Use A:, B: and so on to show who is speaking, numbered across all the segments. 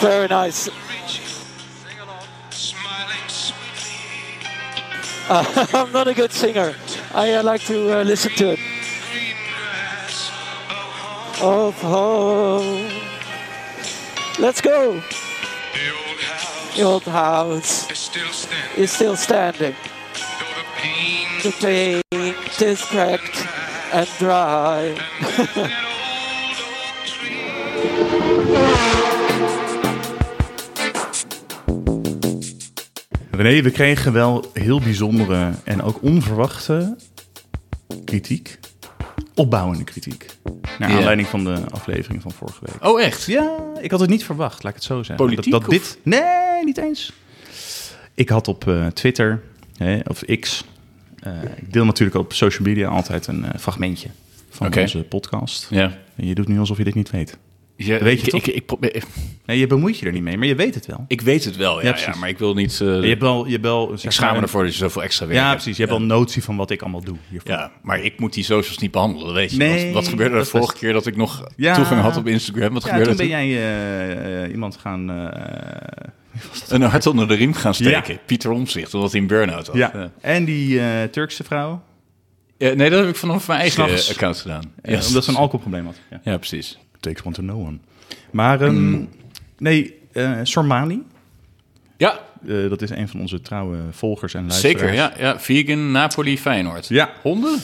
A: Very nice. Uh, I'm not a good singer. I uh, like to uh, listen to it. Of home. Let's go. The old house is still standing. The paint is cracked and dry.
B: René, we kregen wel heel bijzondere en ook onverwachte kritiek. Opbouwende kritiek. Naar
C: Ja.
B: aanleiding van de aflevering van vorige week.
C: Oh, echt?
B: Ja, ik had het niet verwacht, laat ik het zo zeggen.
C: Politiek,
B: dat, dat
C: of?
B: dit. Nee, niet eens. Ik had op eh, Twitter, hè, of X. eh, ik deel natuurlijk op social media altijd een eh, fragmentje van
C: Oké.
B: onze podcast.
C: Ja.
B: En je doet nu alsof je dit niet weet.
C: Ja,
B: Weet je
C: ik,
B: toch?
C: Ik, ik, probeer-
B: Nee, je bemoeit je er niet mee, maar je weet het wel.
C: ik weet het wel,
B: Ja,
C: ja, ja,
B: precies.
C: maar ik wil niet... eh,
B: Je hebt wel, je hebt wel zeg
C: ik
B: maar,
C: schaam me
B: een-
C: ervoor dat je zoveel extra werk
B: Ja,
C: hebt. Eh,
B: precies. Je hebt wel notie van wat ik allemaal doe. Hiervoor.
C: Ja, maar ik moet die socials niet behandelen, weet je.
B: Nee,
C: wat, wat gebeurde
B: dat
C: er
B: is
C: vorige
B: best-
C: keer dat ik nog
B: Ja.
C: toegang had op Instagram? Wat
B: Ja,
C: gebeurde
B: toen
C: er
B: ben
C: toen?
B: jij eh, eh, iemand gaan... eh,
C: Een hart onder de riem gaan steken.
B: Ja.
C: Pieter Omtzigt, omdat hij een burn-out had.
B: ja. En die eh, Turkse vrouw,
C: Ja, eh, nee, dat heb ik vanaf mijn eigen
B: S'nachts.
C: eh, account gedaan.
B: eh,
C: Ja,
B: omdat ze een alcoholprobleem had. Ja.
C: Ja, precies.
B: Takes one to know one. Maar ehm, nee, eh, Sormani,
C: Ja,
B: eh, dat is een van onze trouwe volgers en luisteraars.
C: zeker. Ja, ja, vegan, Napoli, Feyenoord.
B: Ja.
C: Honden?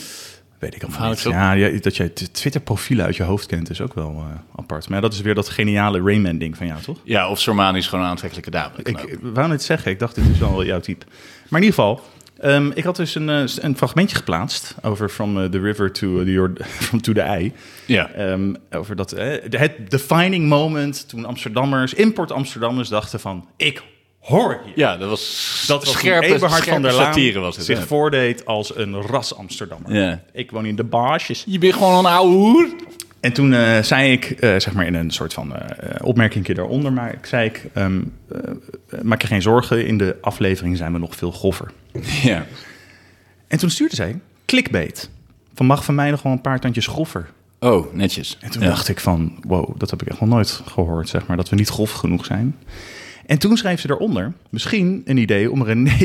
B: Weet ik allemaal
C: Hou
B: niet.
C: ik zo-
B: Ja, ja, dat jij t- Twitter-profielen uit je hoofd kent is ook wel eh, apart. Maar ja, dat is weer dat geniale Rayman-ding van jou, toch?
C: Ja, of Sormani is gewoon een aantrekkelijke dame. Nou, Dat kan
B: Ik
C: ook.
B: ik wou net zeggen, ik dacht dit is wel jouw type. Maar in ieder geval, ehm, ik had dus een, eh, s- een fragmentje geplaatst over From eh, the River to eh, the, Jord- from to the Eye.
C: ja.
B: Ehm, over dat, eh, de- het defining moment toen Amsterdammers, import Amsterdammers dachten van, ik hoor hier.
C: ja, dat was
B: Dat was
C: scherpe,
B: toen Eberhard
C: scherpe
B: van der Laan
C: satire was het.
B: zich
C: ja.
B: voordeed als een ras Amsterdammer.
C: Ja.
B: Ik woon in de baasjes.
C: Je bent gewoon een ouwe hoer.
B: En toen eh, zei ik, eh, zeg maar in een soort van eh, opmerking opmerkingje daaronder, maar ik zei ik, ehm, eh, maak je geen zorgen, in de aflevering zijn we nog veel groffer.
C: Ja.
B: En toen stuurde zij, clickbait, van mag van mij nog wel een paar tandjes groffer.
C: Oh, netjes.
B: En toen
C: Ja.
B: dacht ik van, wow, dat heb ik echt nog nooit gehoord, zeg maar, dat we niet grof genoeg zijn. En toen schreef ze daaronder, misschien een idee om René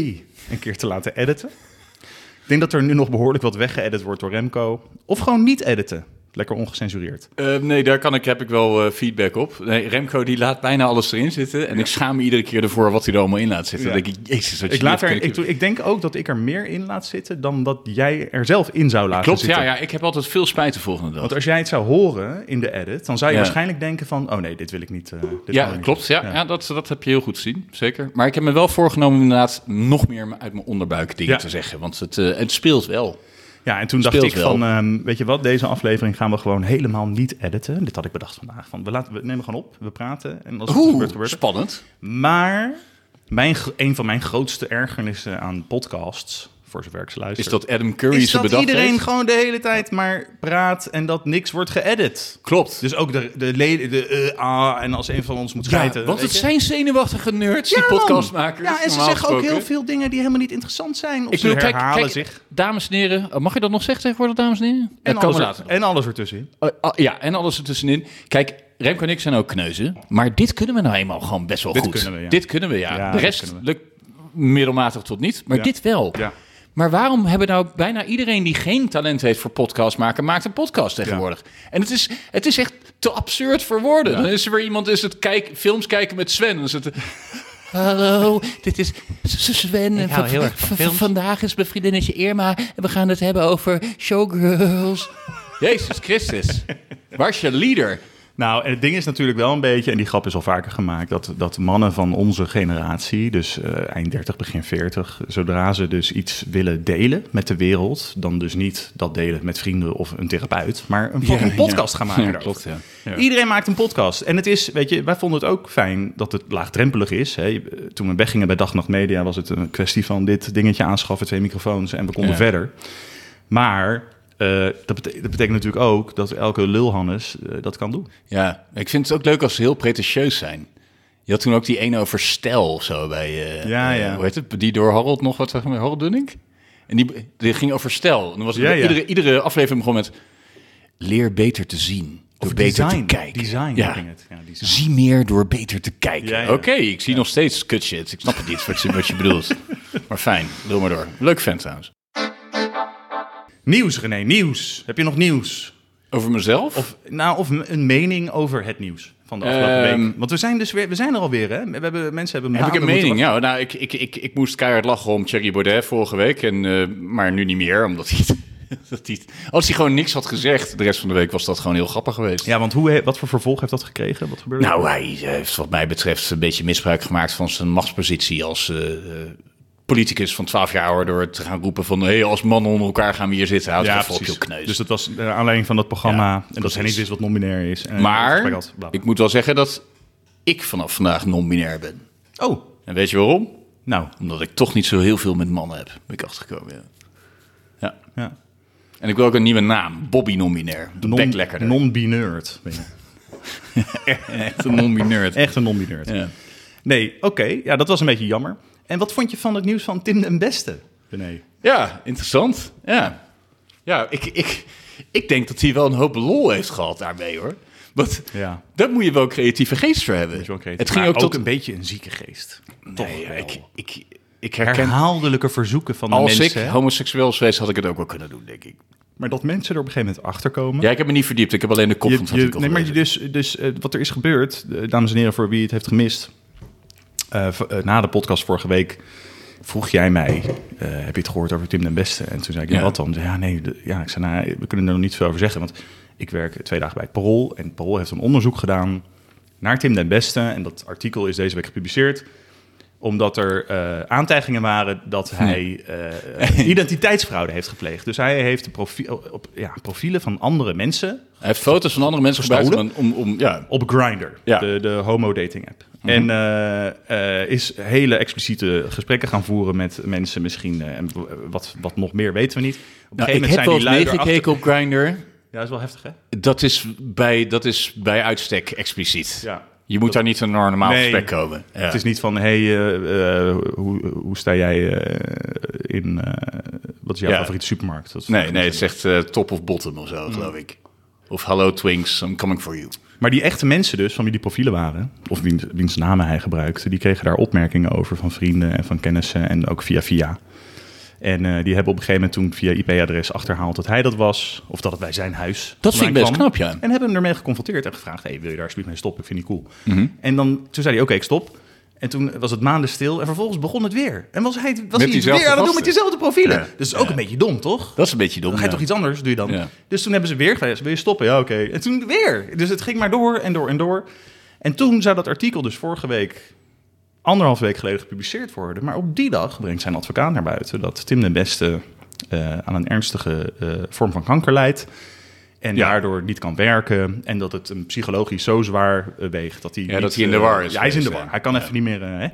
B: een keer te laten editen. Ik denk dat er nu nog behoorlijk wat weggeëdit wordt door Remco. Of gewoon niet editen. Lekker ongecensureerd.
C: Eh, nee, daar kan ik, heb ik wel eh, feedback op. Nee, Remco die laat bijna alles erin zitten. En ik schaam me iedere keer ervoor wat hij er allemaal in laat zitten.
B: Ja.
C: Dan denk ik, jezus, wat je
B: Ik, laat
C: dit
B: er,
C: kunt-
B: ik, ik denk ook dat ik er meer in laat zitten dan dat jij er zelf in zou laten
C: Klopt,
B: zitten.
C: ja, ja. Ik heb altijd veel spijt de volgende dag.
B: Want als jij het zou horen in de edit, dan zou je
C: Ja.
B: waarschijnlijk denken van... oh nee, dit wil ik niet. eh, dit wil ik
C: Ja,
B: niet.
C: klopt. Ja, ja. dat, dat heb je heel goed gezien. Zeker. Maar ik heb me wel voorgenomen om inderdaad nog meer uit mijn onderbuik dingen
B: Ja.
C: te zeggen. Want het, eh, het speelt wel.
B: Ja, en toen dacht
C: Speelt
B: ik
C: wel.
B: van, ehm, weet je wat, deze aflevering gaan we gewoon helemaal niet editen. Dit had ik bedacht vandaag. Van, we, laten, we nemen gewoon op, we praten en als het gebeurt, gebeurt het.
C: spannend.
B: Maar mijn, gro- een van mijn grootste ergernissen aan podcasts, voor zover ik ze luister...
C: Is dat Adam Curry
B: is
C: ze
B: dat
C: bedacht
B: iedereen
C: heeft?
B: gewoon de hele tijd maar praat en dat niks wordt geëdit.
C: Klopt.
B: Dus ook de, de leden, de eh, ah, en als een van ons moet
C: Ja,
B: schijten.
C: want
B: weet
C: het
B: je.
C: zijn zenuwachtige nerds, die
B: Ja, man.
C: podcastmakers.
B: Ja, en ze
C: normaal
B: zeggen ook
C: gesproken.
B: heel veel dingen die helemaal niet interessant zijn. Of
C: Ik
B: ze
C: bedoel, kijk,
B: herhalen
C: kijk,
B: zich.
C: dames en heren. eh, Mag je dat nog zeggen tegenwoordig, dames en heren?
B: En
C: Dat komen
B: alles,
C: we
B: er-
C: later nog.
B: en alles ertussenin.
C: Eh, ah, ja, en alles ertussenin. Kijk, Remco en ik zijn ook kneuzen. Maar dit kunnen we nou eenmaal gewoon best wel
B: Dit
C: goed.
B: kunnen we, ja.
C: Dit kunnen we, ja.
B: Ja,
C: De
B: dit
C: rest
B: kunnen we.
C: lukt middelmatig tot niet. Maar
B: Ja.
C: dit wel.
B: Ja.
C: Maar waarom hebben nou bijna iedereen die geen talent heeft voor podcast maken, maakt een podcast tegenwoordig? En het is, het is echt te absurd voor woorden. Dan is er weer iemand, is het kijk, films kijken met Sven. Dan is het, Hallo, dit is S- S- Sven. en van- van- van- vandaag is mijn vriendinnetje Irma en we gaan het hebben over showgirls. Jezus Christus, waar is je leader?
B: Nou, en het ding is natuurlijk wel een beetje, en die grap is al vaker gemaakt, dat, dat mannen van onze generatie, dus eh, eind 30, begin 40, zodra ze dus iets willen delen met de wereld, dan dus niet dat delen met vrienden of een therapeut, maar een, fucking podcast gaan maken.
C: Ja,
B: daarover.
C: klopt, ja. Ja.
B: Iedereen maakt een podcast. En het is, weet je, wij vonden het ook fijn dat het laagdrempelig is. Hè. eh, Toen we weggingen bij Dag en Nacht Media was het een kwestie van dit dingetje aanschaffen, twee microfoons en we konden
C: Ja.
B: verder. Maar eh, dat, bete- dat betekent natuurlijk ook dat elke lulhannes eh, dat kan doen.
C: Ja, ik vind het ook leuk als ze heel pretentieus zijn. Je had toen ook die ene over Stel of zo bij... eh,
B: Ja,
C: eh,
B: ja.
C: hoe heet het? Die door Harold nog wat... zeg maar, Harold Dunning? En die, die ging over Stel. En dan was het-
B: Ja, ja.
C: Iedere, iedere aflevering begon met... Leer beter te zien. Door
B: Of
C: beter
B: design.
C: te kijken.
B: Design
C: Ja.
B: ging het. Ja, design.
C: Zie meer door beter te kijken.
B: Ja, ja.
C: Oké, ik zie nog steeds kut shit. Ik snap het niet wat je, wat je bedoelt. Maar fijn, lul maar door. Leuk vent trouwens.
B: Nieuws, René, nieuws. Heb je nog nieuws?
C: Over mezelf?
B: Of, nou, of m- een mening over het nieuws van de afgelopen
C: Ehm.
B: week. Want we zijn dus weer, we zijn er alweer, hè? We hebben, mensen hebben
C: Heb ik een
B: maanden moeten
C: mening? Ja, nou, ik, ik, ik, ik moest keihard lachen om Thierry Baudet vorige week. En, eh, maar nu niet meer, omdat hij... het- Dat hij, het- als hij gewoon niks had gezegd, de rest van de week was dat gewoon heel grappig geweest.
B: Ja, want hoe, he- wat voor vervolg heeft dat gekregen? Wat gebeurde er?
C: Nou, hij heeft wat mij betreft een beetje misbruik gemaakt van zijn machtspositie als eh, eh, politicus van 12 jaar ouder door te gaan roepen van hé, hey, als mannen onder elkaar gaan we hier zitten. Houd ja, op je kneus.
B: Dus dat was eh, aanleiding van dat programma.
C: Ja,
B: en dat hij niet
C: precies.
B: wist wat non-binair is. En eh, het
C: maar
B: gesprek had, bla, bla.
C: ik moet wel zeggen dat ik vanaf vandaag non-binair ben.
B: Oh,
C: En weet je waarom?
B: nou.
C: Omdat ik toch niet zo heel veel met mannen heb, ben ik achtergekomen. Ja. ja.
B: Ja.
C: En ik wil ook een nieuwe naam, Bobby Non-binair. De
B: Non-
C: bek lekkerder.
B: Non-binaird. ben je.
C: Echt een non-binair.
B: Echt een non-binaird.
C: Ja.
B: Nee, oké. Ja, dat was een beetje jammer. En wat vond je van het nieuws van Tim den Beste? René?
C: Ja, interessant. Ja, ja ik, ik, ik denk dat hij wel een hoop lol heeft gehad daarmee, hoor. Want
B: Ja.
C: daar moet je wel creatieve geest voor hebben. Het ging ook, tot...
B: een beetje een zieke geest.
C: Nee, ja, ik, ik, ik herken...
B: Herhaaldelijke verzoeken van de
C: Als
B: mensen.
C: ik
B: hè?
C: homoseksueel was geweest, had ik het ook wel kunnen doen, denk ik.
B: Maar dat mensen er op een gegeven moment achter komen.
C: Ja, ik heb me niet verdiept. Ik heb alleen de kop
B: Je-
C: van het
B: je-
C: artikel
B: nee, maar je
C: gelezen.
B: dus, dus eh, wat er is gebeurd, eh, dames en heren, voor wie het heeft gemist. eh, v- eh, na de podcast vorige week vroeg jij mij, eh, heb je het gehoord over Tim den Beste? En toen zei ik,
C: Ja.
B: wat dan? Ja, nee, de- ja, ik zei, nou, we kunnen er nog niet veel over zeggen. Want ik werk twee dagen bij het Parool. En het Parool heeft een onderzoek gedaan naar Tim den Beste. En dat artikel is deze week gepubliceerd omdat er eh, aantijgingen waren dat hij eh, identiteitsfraude heeft gepleegd. Dus hij heeft de profiel, op, ja, profielen van andere mensen
C: Hij heeft foto's van andere mensen gebruikt om,
B: Gestolen?
C: om, om- ja,
B: op Grindr,
C: Ja. Mhm.
B: de, de homo-dating app. En eh, eh, is hele expliciete gesprekken gaan voeren met mensen misschien. eh, en w- wat, wat nog meer weten we niet. Op een
C: Nou, ik heb wel eens
B: lui erachter-
C: meegekeken op Grindr.
B: Ja, is wel heftig, hè?
C: Dat is bij, dat is bij uitstek expliciet.
B: Ja.
C: Je moet daar niet een normaal
B: Nee.
C: gesprek komen. Ja.
B: Het is niet van, hey, eh, eh, hoe, hoe sta jij eh, in... eh, wat is jouw
C: Ja.
B: favoriete supermarkt? Dat is-
C: nee, nee, het zegt echt eh, top of bottom of
B: Mm.
C: zo, geloof ik. Of hallo Twinks, I'm coming for you.
B: Maar die echte mensen dus, van wie die profielen waren... of wiens, wiens namen hij gebruikte... die kregen daar opmerkingen over van vrienden en van kennissen... en ook via via. En eh, die hebben op een gegeven moment toen via IP-adres achterhaald... dat hij dat was, of dat het bij zijn huis
C: Dat vind ik best
B: vandaan kwam.
C: knap, ja.
B: En hebben hem ermee geconfronteerd en gevraagd... hey, wil je daar alsjeblieft mee stoppen? Ik vind die cool.
C: Mhm.
B: En dan, toen zei hij, oké, ik stop... En toen was het maanden stil en vervolgens begon het weer. En was hij, was hij het weer
C: diezelfde
B: aan het doen
C: gasten.
B: met diezelfde profielen.
C: Ja.
B: Dat is ook een beetje dom, toch?
C: Dat is een beetje dom.
B: Dan ga je
C: ja.
B: toch iets anders, doe je dan.
C: Ja.
B: Dus toen hebben ze weer gevraagd, wil je stoppen? Ja, oké. En toen weer. Dus het ging maar door en door en door. En toen zou dat artikel dus vorige week, anderhalf week geleden, gepubliceerd worden. Maar op die dag brengt zijn advocaat naar buiten dat Tim de Beste eh, aan een ernstige eh, vorm van kanker lijdt. En
C: Ja.
B: daardoor niet kan werken. En dat het hem psychologisch zo zwaar eh, weegt dat hij.
C: Ja,
B: niet,
C: dat hij in
B: eh,
C: de war is
B: Ja, hij is in de
C: geweest,
B: war.
C: ja.
B: Hij kan even niet meer. eh, hè.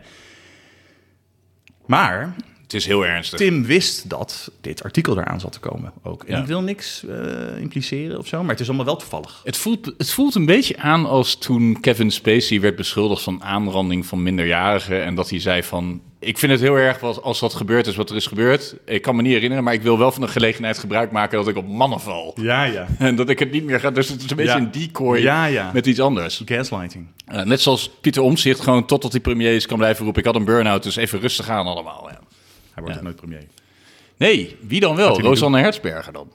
B: Maar
C: Het is heel ernstig.
B: Tim wist dat dit artikel eraan zat te komen ook. En
C: Ja.
B: ik wil niks eh, impliceren of zo, maar het is allemaal wel toevallig.
C: Het voelt, het voelt een beetje aan als toen Kevin Spacey werd beschuldigd van aanranding van minderjarigen. En dat hij zei van, ik vind het heel erg wat, als dat gebeurd is wat er is gebeurd. Ik kan me niet herinneren, maar ik wil wel van de gelegenheid gebruik maken dat ik op mannen val.
B: Ja, ja.
C: En dat ik het niet meer ga. Dus het is een beetje
B: Ja.
C: een decoy
B: Ja, ja.
C: met iets anders.
B: Gaslighting.
C: Eh, net zoals Pieter Omzicht gewoon totdat hij premier is kan blijven roepen. Ik had een burn-out, dus even rustig aan allemaal. Ja.
B: Hij wordt ook nooit premier.
C: Nee, wie dan wel?
B: niet
C: Rosanne Hertzberger dan.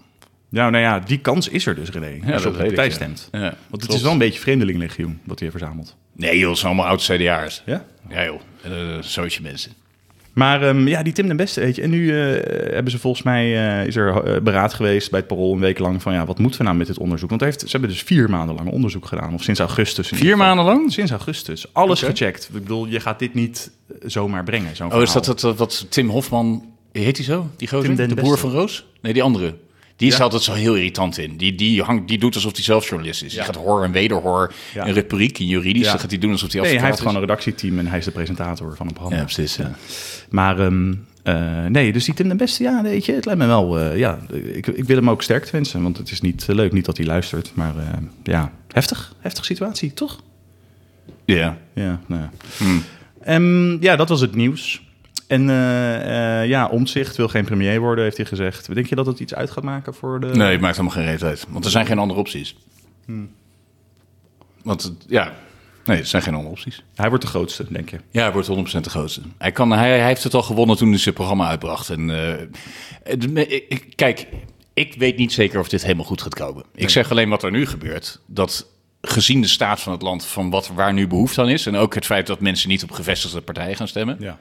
B: Ja, nou ja, die kans is er dus, René. als je op de
C: weet ik,
B: partij
C: ja.
B: stemt.
C: Ja,
B: Want het
C: klopt.
B: is wel een beetje vreemdelinglegioen wat hij verzamelt.
C: Nee joh, het zijn allemaal oud-CDA'ers.
B: Ja?
C: Ja joh, Eh zootje mensen.
B: Maar ehm, ja, die Tim den Beste, weet je. En nu eh, hebben ze volgens mij, eh, is er eh, beraad geweest bij het Parool een week lang van... ja, wat moeten we nou met dit onderzoek? Want hij heeft, ze hebben dus vier maanden lang onderzoek gedaan. Of sinds augustus. in
C: Vier
B: ieder geval.
C: maanden lang?
B: Sinds augustus. Alles
C: Oké.
B: gecheckt. Ik bedoel, je gaat dit niet eh, zomaar brengen. Zo'n
C: Oh, is
B: verhaal.
C: dat, dat, dat- wat Tim Hofman, heet hij zo? Die gozer?
B: Tim den
C: de
B: Beste.
C: broer van Roos? Nee, die andere. Die is
B: Ja.
C: altijd zo heel irritant in. Die, die, hangt, die doet alsof hij zelf journalist is. Die gaat hoor en wederhoor
B: Ja.
C: en retoriek en juridisch.
B: Ja.
C: Dat gaat hij doen alsof hij
B: Nee, hij heeft
C: advocaat
B: gewoon een redactieteam en hij is de presentator van een
C: is.
B: programma.
C: Ja, precies. ja.
B: Maar ehm, eh, nee, dus die Tim de Beste, ja, weet je, het lijkt me wel... eh, ja, ik, ik wil hem ook sterk wensen, want het is niet eh, leuk, niet dat hij luistert. Maar eh, ja, heftig, heftig situatie, toch?
C: Ja.
B: Ja, nou ja.
C: Hmm.
B: Ehm, ja, dat was het nieuws. En eh, eh, ja, Omtzigt wil geen premier worden, heeft hij gezegd. Denk je dat het iets uit gaat maken voor de... Hmm.
C: Nee, het maakt helemaal geen reet uit. Want er zijn geen andere opties. Want het- ja, nee, er zijn geen andere opties.
B: Hij wordt de grootste, denk je.
C: Ja, hij wordt 100% de grootste. Hij, kan, hij, hij heeft het al gewonnen toen hij zijn programma uitbracht. En, eh, het- me- ik- ik- kijk, ik weet niet zeker of dit helemaal goed gaat komen. Ik zeg alleen wat er nu gebeurt. Dat gezien de staat van het land, van wat, waar nu behoefte aan is... en ook het feit dat mensen niet op gevestigde partijen gaan stemmen...
B: Ja.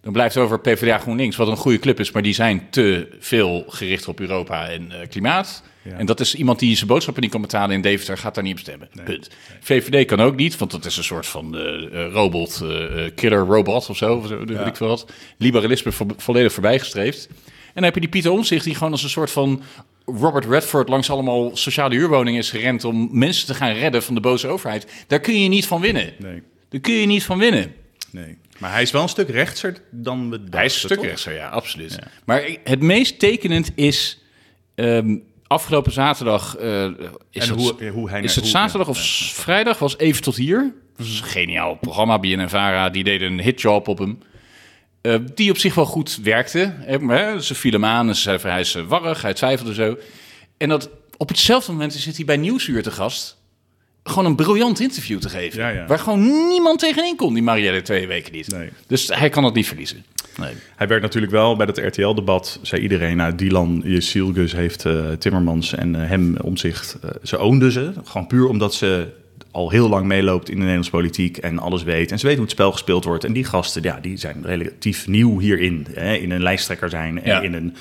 C: dan blijft over PvdA GroenLinks, wat een goede club is... maar die zijn te veel gericht op Europa en eh, klimaat...
B: Ja.
C: En dat is iemand die zijn boodschappen niet kan betalen in Deventer, gaat daar niet op stemmen. Punt. VVD kan ook niet, want dat is een soort van eh, eh, robot, eh, eh, killer robot of zo, of zo, weet ik veel wat. Liberalisme vo- volledig voorbijgestreefd. En dan heb je die Pieter Omtzigt die gewoon als een soort van Robert Redford langs allemaal sociale huurwoningen is gerend om mensen te gaan redden van de boze overheid. Daar kun je niet van winnen.
B: Nee.
C: Daar kun je niet van winnen.
B: Nee. Maar hij is wel een stuk rechtser dan we dachten.
C: Hij is een stuk
B: toch?
C: rechtser, ja, absoluut. Maar ik- het meest tekenend is ehm, afgelopen zaterdag. eh, is
B: En
C: dat-
B: hoe- ja, hoe hij-
C: is het
B: hoe-
C: zaterdag
B: ja,
C: of s- vrijdag? Was even tot hier. Dat is een geniaal programma. BNNVARA Vara die deden een hitjob op hem. Eh, die op zich wel goed werkte. Hè, maar, hè, ze viel hem aan en ze zei van hij is eh, warrig, hij twijfelde zo. En dat op hetzelfde moment zit hij bij Nieuwsuur te gast. Gewoon een briljant interview te geven.
B: Ja, ja.
C: Waar gewoon niemand tegenin kon, die Marielle twee weken niet.
B: Nee.
C: Dus hij kan dat niet verliezen. Nee.
B: Hij werd natuurlijk wel bij dat RTL-debat, zei iedereen, nou, Dylan Silgus heeft eh, Timmermans en eh, hem om zich. eh, ze oonde ze, gewoon puur omdat ze al heel lang meeloopt in de Nederlandse politiek en alles weet. En ze weet hoe het spel gespeeld wordt. En die gasten, ja, die zijn relatief nieuw hierin. Hè, in een lijsttrekker zijn en
C: Ja.
B: in een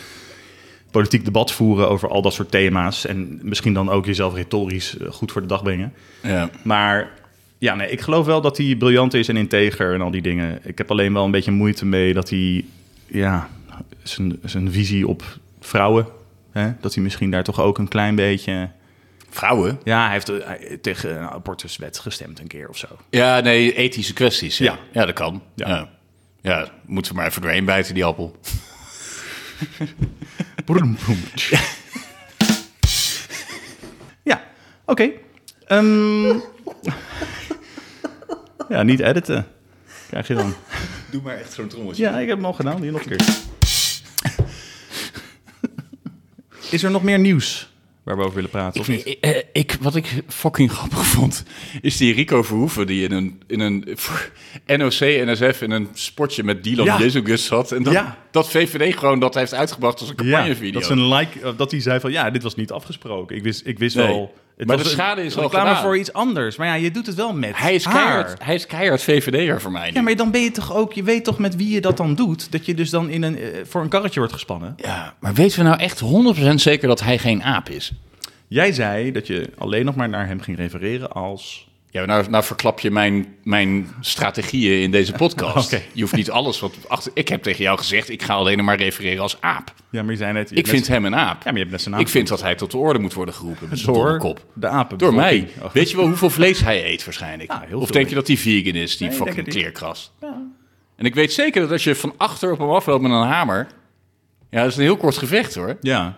B: politiek debat voeren over al dat soort thema's. En misschien dan ook jezelf retorisch eh, goed voor de dag brengen.
C: Ja.
B: Maar ja, nee, ik geloof wel dat hij briljant is en integer en al die dingen. Ik heb alleen wel een beetje moeite mee dat hij, ja, zijn, zijn visie op vrouwen, hè, dat hij misschien daar toch ook een klein beetje.
C: Vrouwen?
B: Ja, hij heeft eh, hij- tegen een abortuswet gestemd een keer of zo.
C: Ja, nee, ethische kwesties. Ja, ja.
B: Ja.
C: dat kan. Ja.
B: Ja.
C: Ja. moeten we maar even doorheen bijten, die appel.
B: Broem, broem. ja, oké. Ehm, ja, niet editen. Krijg je dan.
C: Doe maar echt zo'n trommeltje.
B: Ja, ik heb hem al gedaan. Die nog een keer. Is er nog meer nieuws waar we over willen praten? Of niet?
C: Ik, eh, ik, wat ik fucking grappig vond, is die Rico Verhoeven die in een, in een voor NOC, NSF, in een sportje met Dylan
B: Ja.
C: Jezus zat. En dat,
B: Ja.
C: dat VVD gewoon dat heeft uitgebracht als een campagnevideo.
B: dat is een like. eh, Dat hij zei van ja, dit was niet afgesproken. Ik wist, ik wist
C: Nee.
B: wel.
C: Maar
B: was
C: de
B: een-
C: schade is
B: een
C: al
B: reclame
C: gedaan.
B: voor iets anders. Maar ja, je doet het wel met.
C: Hij is
B: haar.
C: keihard, hij is keihard VVD'er voor mij. nu.
B: Ja, maar dan ben je toch ook. Je weet toch met wie je dat dan doet. Dat je dus dan in een, eh, voor een karretje wordt gespannen.
C: ja, maar weten we nou echt 100% zeker dat hij geen aap is?
B: Jij zei dat je alleen nog maar naar hem ging refereren als.
C: Ja, maar nou, nou verklap je mijn, mijn strategieën in deze podcast.
B: Oké.
C: Je hoeft niet alles wat achter. Ik heb tegen jou gezegd, ik ga alleen maar refereren als aap.
B: Ja, maar je zei net. je
C: Ik
B: hebt net-
C: vind hem een aap.
B: Ja, maar je hebt net zijn naam
C: ik vind dat hij tot de orde moet worden geroepen met zijn domme
B: door
C: kop.
B: de apen.
C: Door mij.
B: Oh.
C: Weet je wel hoeveel vlees hij eet waarschijnlijk?
B: Ja, heel
C: of
B: veel.
C: denk je dat hij vegan is, die
B: Nee, ik
C: fucking
B: denk het niet.
C: kleerkras? En ik weet zeker dat als je van achter op hem afloopt met een hamer... Ja, dat is een heel kort gevecht hoor.
B: Ja,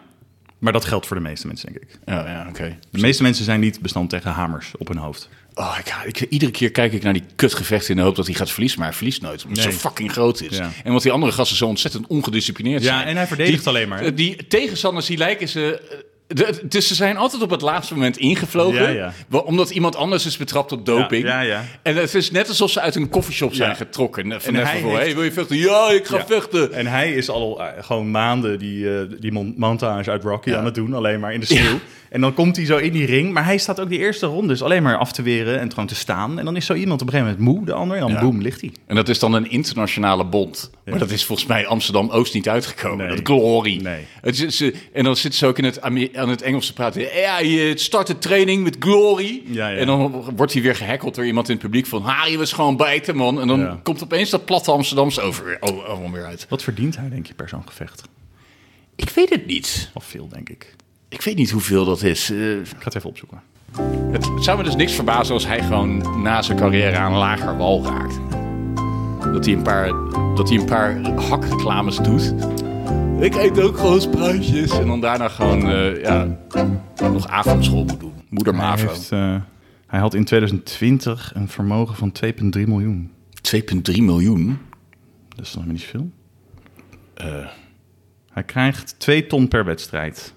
B: maar dat geldt voor de meeste mensen, denk ik.
C: Ja, ja oké.
B: De meeste mensen zijn niet bestand tegen hamers op hun hoofd.
C: Oh, ik, ik- iedere keer kijk ik naar die kutgevechten in de hoop dat hij gaat verliezen, maar hij verliest nooit. Omdat hij
B: Nee.
C: zo fucking groot is.
B: Ja.
C: En want die andere gasten zo ontzettend ongedisciplineerd
B: Ja,
C: zijn.
B: en hij verdedigt
C: Die-
B: alleen maar, hè?
C: Die tegenstanders, die lijken ze... eh, de- dus ze zijn altijd op het laatste moment ingevlogen.
B: Ja, ja.
C: wa- Omdat iemand anders is betrapt op doping.
B: Ja, ja, ja.
C: En het is net alsof ze uit een koffieshop zijn
B: Ja.
C: getrokken. eh, Van
B: En
C: en
B: hij
C: voor,
B: heeft-
C: hey, wil je vechten? Ja, ik ga
B: Ja.
C: vechten.
B: En hij is al eh, gewoon maanden die, eh, die mon- montage uit Rocky
C: Ja.
B: aan het doen, alleen maar in de sneeuw. En dan komt hij zo in die ring, maar hij staat ook die eerste rondes alleen maar af te weren en gewoon te staan. En dan is zo iemand op een gegeven moment moe, de ander, en dan
C: Ja.
B: boem, ligt hij.
C: En dat is dan een internationale bond. Maar dat is volgens mij Amsterdam-Oost niet uitgekomen.
B: Nee.
C: Dat glorie.
B: Nee.
C: Het is, eh, en dan zitten ze ook in het, Ame- aan het Engels te praten. Ja, je start de training met glory.
B: Ja, ja.
C: En dan wordt hij weer gehackeld door iemand in het publiek van... Harry was gewoon bijten, man. En dan
B: Ja.
C: komt opeens dat platte Amsterdams over, oh, allemaal weer uit.
B: Wat verdient hij, denk je, per zo'n gevecht?
C: Ik weet het niet.
B: Of veel, denk ik.
C: Ik weet niet hoeveel dat is. Eh,
B: Ik ga het even opzoeken.
C: het zou me dus niks verbazen als hij gewoon na zijn carrière aan een lager wal raakt. Dat hij een paar, dat hij een paar hakreclames doet. Ik eet ook gewoon spruitjes. En dan daarna gewoon eh, ja, nog avondschool moet doen. Moeder
B: Hij,
C: Mavo.
B: heeft, eh, hij had in 2020 een vermogen van 2,3 miljoen.
C: 2,3 miljoen.
B: Dat is nog maar niet veel. Eh, Hij krijgt 2 ton per wedstrijd.